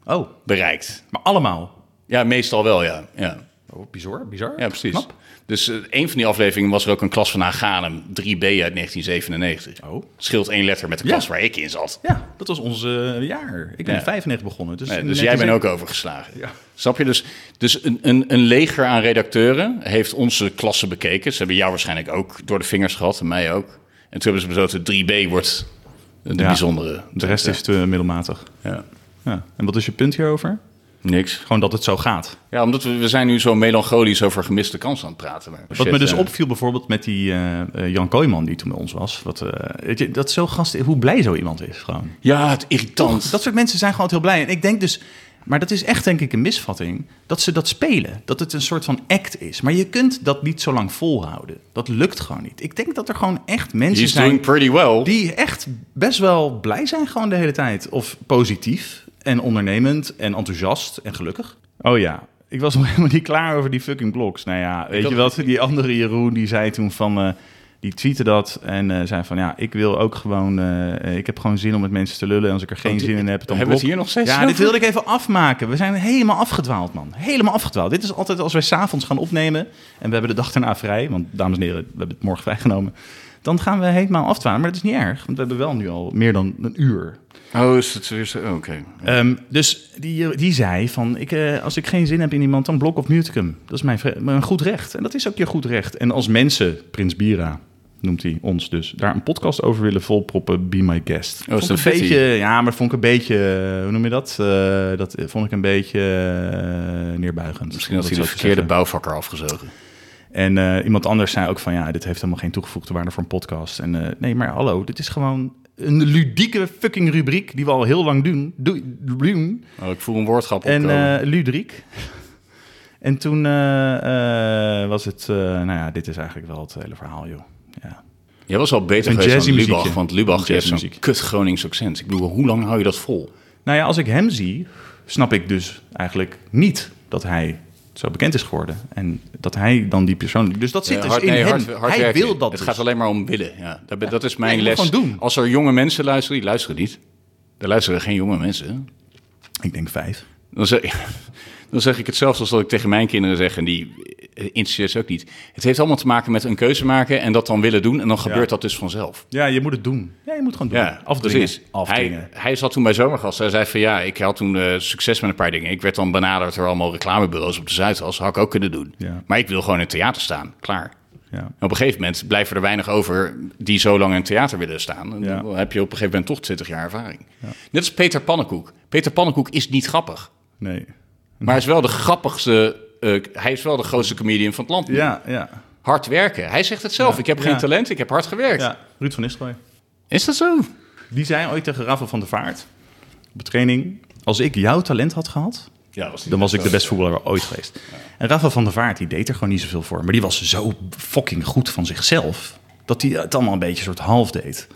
B: Oh,
C: bereikt.
B: maar allemaal.
C: Ja, meestal wel, ja. ja.
B: Oh, bizar, bizar.
C: Ja, precies.
B: Knap.
C: Dus eh, een van die afleveringen was er ook een klas van Haganem, 3B uit 1997.
B: Oh.
C: Scheelt één letter met de
B: Ja.
C: klas waar ik in zat.
B: Ja, dat was ons eh, jaar. Ik ben
C: Ja.
B: in 95 begonnen. Dus,
C: Nee,
B: in
C: dus jij bent
B: 1997
C: ook overgeslagen.
B: Ja.
C: Snap je? Dus, dus een, een, een leger aan redacteuren heeft onze klassen bekeken. Ze hebben jou waarschijnlijk ook door de vingers gehad en mij ook. En toen hebben ze besloten, 3B wordt de
B: Ja.
C: bijzondere.
B: De rest
C: Ja.
B: is te middelmatig.
C: Ja.
B: Ja. En wat is je punt hierover?
C: Niks.
B: Gewoon dat het zo gaat.
C: Ja, omdat we, we zijn nu zo melancholisch over gemiste kansen aan het praten. Maar
B: Wat me dus
C: eh,
B: opviel bijvoorbeeld met die eh, eh, Jan Kooijman die toen bij ons was. Wat, eh, weet je, dat is zo gast, hoe blij zo iemand is gewoon.
C: Ja, het irritant.
B: Dat soort mensen zijn gewoon altijd heel blij. En ik denk dus, maar dat is echt denk ik een misvatting, dat ze dat spelen. Dat het een soort van act is. Maar je kunt dat niet zo lang volhouden. Dat lukt gewoon niet. Ik denk dat er gewoon echt mensen
C: He's
B: zijn
C: doing pretty well.
B: die echt best wel blij zijn gewoon de hele tijd. Of positief en ondernemend en enthousiast en gelukkig. Oh ja, ik was nog helemaal niet klaar over die fucking blogs. Nou ja, weet
C: had-
B: je wat, die andere Jeroen die zei toen van... eh, die tweette dat en eh, zei van ja, ik wil ook gewoon, eh, ik heb gewoon zin om met mensen te lullen. En als ik er geen zin in heb, dan
C: Hebben we het
B: blok.
C: hier nog steeds
B: Ja,
C: over?
B: dit wilde ik even afmaken. We zijn helemaal afgedwaald, man. Helemaal afgedwaald. Dit is altijd als wij s'avonds gaan opnemen en we hebben de dag daarna vrij. Want dames en heren, we hebben het morgen vrijgenomen. Dan gaan we helemaal afdwalen, maar dat is niet erg. Want we hebben wel nu al meer dan een uur.
C: Oh, is het weer zo? Oké.
B: Ehm, dus die, die zei van, ik, eh, als ik geen zin heb in iemand, dan blok of mute ik hem. Dat is mijn, vre- mijn goed recht. En dat is ook je goed recht. En als mensen, Prins Bira noemt hij ons dus, daar een podcast over willen volproppen, be my guest.
C: dat Oh, is
B: vond ik
C: een
B: een
C: fitty.
B: beetje, ja, maar vond ik een beetje, eh, hoe noem je dat? Eh, dat eh, vond ik een beetje eh, neerbuigend.
C: Misschien had
B: om dat
C: hij de
B: zo te
C: verkeerde
B: zeggen.
C: bouwvakker afgezogen.
B: En eh, iemand anders zei ook van ja, dit heeft helemaal geen toegevoegde waarde voor een podcast. En eh, nee, maar hallo, dit is gewoon een ludieke fucking rubriek die we al heel lang doen. Doe- doen.
C: Oh, ik voel een woordgrap
B: En
C: opkomen.
B: eh ludiek. en toen eh, eh, was het, eh, nou ja, dit is eigenlijk wel het hele verhaal, joh. Ja.
C: Jij was al beter
B: een
C: geweest
B: jazzy
C: dan Lubach,
B: muziekje.
C: want Lubach
B: Een
C: heeft zo'n
B: jazzmuziek.
C: kut Gronings accent. Ik bedoel, hoe lang hou je dat vol?
B: Nou ja, als ik hem zie, snap ik dus eigenlijk niet dat hij zo bekend is geworden. En dat hij dan die persoon... Dus dat zit
C: Ja,
B: dus
C: Eh, hard-
B: in
C: nee,
B: hem.
C: hard- hard
B: hij
C: werken.
B: wil dat
C: Het
B: dus.
C: gaat alleen maar om willen. Ja. Dat, be- dat is mijn
B: Nee,
C: les.
B: gewoon doen.
C: Als er jonge mensen luisteren, die luisteren niet. Er luisteren geen jonge mensen.
B: Ik denk vijf.
C: Dan zeg, dan zeg ik het zelfs als dat ik tegen mijn kinderen zeg. En die eh, interesseert ze ook niet. Het heeft allemaal te maken met een keuze maken en dat dan willen doen. En dan gebeurt dat dus vanzelf.
B: Ja, je moet het doen. Ja, je moet gewoon doen.
C: Ja,
B: Afdwingen.
C: precies.
B: Afdwingen.
C: Hij, hij zat toen bij Zomergast. Hij zei van ja, ik had toen eh, succes met een paar dingen. Ik werd dan benaderd door allemaal reclamebureaus op de Zuidas. Had ik ook kunnen doen.
B: Ja.
C: Maar ik wil gewoon in het theater staan. Klaar.
B: Ja.
C: En op een gegeven moment blijven er weinig over die zo lang in het theater willen staan. En
B: Ja.
C: Dan heb je op een gegeven moment toch 20 jaar ervaring. Net als Peter Pannenkoek. Peter Pannenkoek is niet grappig.
B: Nee.
C: Maar hij is wel de grappigste... eh, hij is wel de grootste comedian van het land. nu.
B: Ja, ja.
C: Hard werken. Hij zegt het zelf. ik heb geen
B: Ja.
C: talent, ik heb hard gewerkt.
B: ja. Ruud van Nistelrooy.
C: Is dat zo?
B: Die zei ooit tegen Rafa van der Vaart op de training... Als ik jouw talent had gehad,
C: Ja, was
B: dan was ik de beste voetballer ooit geweest. En Rafa van der Vaart, die deed er gewoon niet zoveel voor. Maar die was zo fucking goed van zichzelf... dat hij het allemaal een beetje soort half deed.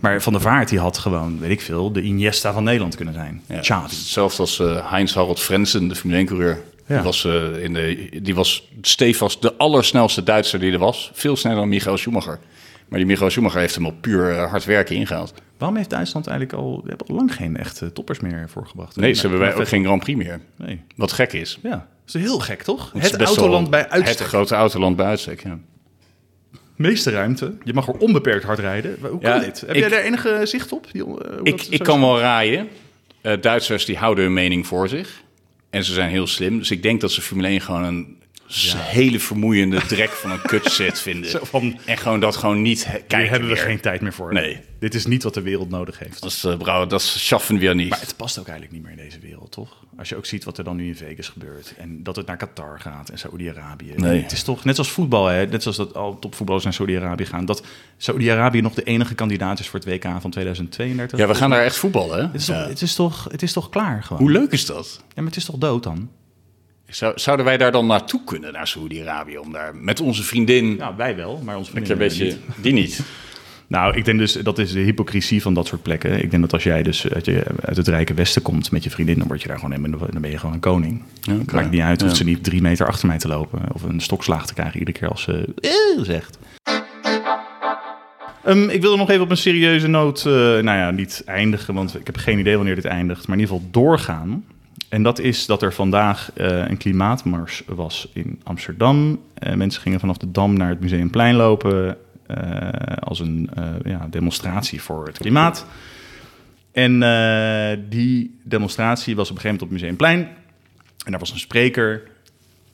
B: Maar Van der Vaart, die had gewoon, weet ik veel... de Iniesta van Nederland kunnen zijn.
C: Ja.
B: Xavi.
C: Hetzelfde als eh, Heinz-Harald Frensen, de Formule 1-coureur.
B: Ja.
C: Die, was, eh, in de- die was stevast de allersnelste Duitser die er was. Veel sneller dan Michael Schumacher. Maar die Michael Schumacher heeft hem op puur eh, hard werken ingehaald.
B: Waarom heeft Duitsland eigenlijk al... We hebben al lang geen echte toppers meer voorgebracht.
C: Nee, ze hebben wij
B: maar
C: ook geen Grand Prix meer.
B: vet- Nee.
C: Wat gek is.
B: Ja, dat is heel gek, toch?
C: Het
B: Het
C: is best
B: autoland
C: wel
B: bij uitstek.
C: Het grote autoland bij uitstek, ja.
B: meeste ruimte. Je mag er onbeperkt hard rijden. Maar Hoe kan
C: Ja,
B: dit? Heb
C: ik-
B: jij daar enige zicht op? Jon? Eh, hoe
C: Ik,
B: dat
C: ik
B: zo
C: kan
B: is?
C: wel raaien. Eh, Duitsers die houden hun mening voor zich. En ze zijn heel slim. Dus ik denk dat ze Formule 1 gewoon een s- hele vermoeiende drek van een kutset vinden.
B: Zo van-
C: en gewoon dat gewoon niet he- kijken
B: Hier hebben we
C: meer.
B: geen tijd meer voor.
C: Nee.
B: Dit is niet wat de wereld nodig heeft.
C: Dat is, eh, brouw, dat is schaffen weer niet.
B: Maar het past ook eigenlijk niet meer in deze wereld, toch? Als je ook ziet wat er dan nu in Vegas gebeurt. En dat het naar Qatar gaat en Saoedi-Arabië.
C: Nee.
B: Het is toch net zoals voetbal, hè? Net zoals dat al topvoetballers naar Saoedi-Arabië gaan. Dat Saoedi-Arabië nog de enige kandidaat is voor het WK van 2032.
C: ja, we gaan daar echt voetballen, hè?
B: Het is, toch,
C: Ja.
B: het, is toch, het is toch klaar gewoon?
C: Hoe leuk is dat?
B: Ja, maar het is toch dood dan?
C: Zou, zouden wij daar dan naartoe kunnen, naar Saoedi-Arabië? Om daar met onze vriendin...
B: Nou, wij wel, maar ons
C: een beetje, die niet.
B: Nou, ik denk dus, dat is de hypocrisie van dat soort plekken. Ik denk dat als jij dus uit, je, uit het rijke westen komt met je vriendin, dan word je daar gewoon helemaal- dan ben je gewoon een koning.
C: oké.
B: Maakt niet uit of
C: Ja.
B: ze niet drie meter achter mij te lopen of een stokslaag te krijgen iedere keer als ze "Eh," zegt. Ehm, ik wilde nog even op een serieuze noot, eh, nou ja, niet eindigen, want ik heb geen idee wanneer dit eindigt, maar in ieder geval doorgaan. En dat is dat er vandaag eh, een klimaatmars was in Amsterdam. Eh, mensen gingen vanaf de Dam naar het Museumplein lopen eh, als een eh, ja, demonstratie voor het klimaat. En eh, die demonstratie was op een gegeven moment op het Museumplein. En daar was een spreker.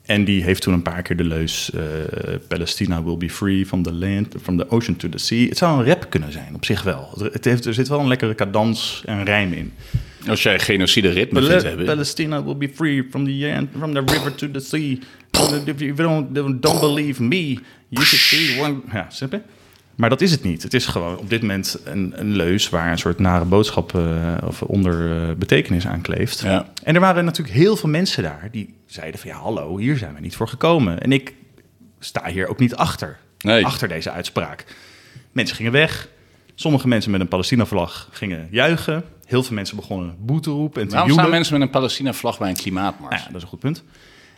B: En die heeft toen een paar keer de leus... eh, Palestina will be free from the land, from the ocean to the sea. Het zou een rap kunnen zijn, op zich wel. Het- Het heeft, er zit wel een lekkere cadans en rijm in.
C: Als jij genocide ritme vindt
B: Pal-
C: hebben...
B: Palestina will be free from the land, from the river to the sea. If you don't, don't believe me, you should see one... Ja, snap je? Maar dat is het niet. Het is gewoon op dit moment een, een leus waar een soort nare boodschap eh, of onder eh, betekenis aan kleeft.
C: Ja.
B: En er waren natuurlijk heel veel mensen daar die zeiden van ja, hallo, hier zijn we niet voor gekomen. En ik sta hier ook niet achter,
C: Nee.
B: achter deze uitspraak. Mensen gingen weg. Sommige mensen met een Palestina-vlag gingen juichen. Heel veel mensen begonnen boe te roepen en te
C: Waarom staan
B: joelen.
C: mensen met een Palestina-vlag bij een klimaatmars?
B: Nou ja, dat is een goed punt.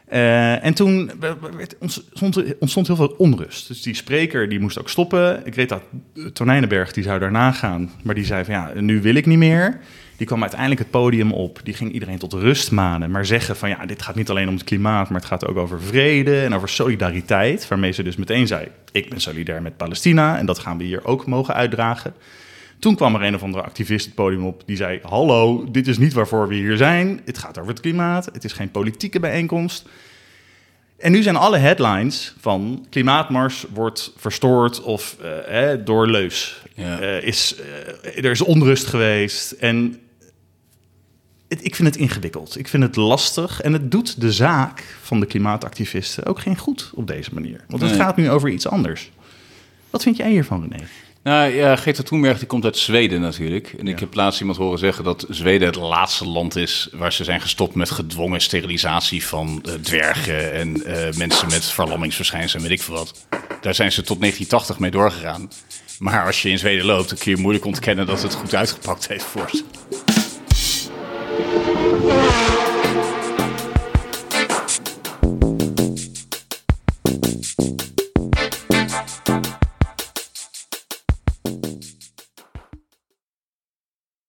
B: Eh, en toen we- we- werd- ontstond, ontstond heel veel onrust. Dus die spreker die moest ook stoppen. Greta Tonijnenberg eh, die zou daarna gaan. Maar die zei van ja, nu wil ik niet meer. Die kwam uiteindelijk het podium op. Die ging iedereen tot rust manen. Maar zeggen van ja, dit gaat niet alleen om het klimaat. Maar het gaat ook over vrede en over solidariteit. Waarmee ze dus meteen zei, ik ben solidair met Palestina. En dat gaan we hier ook mogen uitdragen. Toen kwam er een of andere activist het podium op die zei: Hallo, dit is niet waarvoor we hier zijn. Het gaat over het klimaat. Het is geen politieke bijeenkomst. En nu zijn alle headlines van klimaatmars wordt verstoord of eh, eh, door leus.
C: Ja.
B: Eh, is, eh, er is onrust geweest. En het- ik vind het ingewikkeld. Ik vind het lastig. En het doet de zaak van de klimaatactivisten ook geen goed op deze manier. Want het
C: Nee.
B: gaat nu over iets anders. Wat vind jij hiervan, René?
C: Nou ja, Greta Thunberg die komt uit Zweden natuurlijk. En ik
B: Ja.
C: heb laatst iemand horen zeggen dat Zweden het laatste land is waar ze zijn gestopt met gedwongen sterilisatie van eh, dwergen en eh, mensen met verlammingsverschijnselen en weet ik veel wat. Daar zijn ze tot 1980 mee doorgegaan. Maar als je in Zweden loopt, dan kun je moeilijk ontkennen dat het goed uitgepakt heeft voor ze.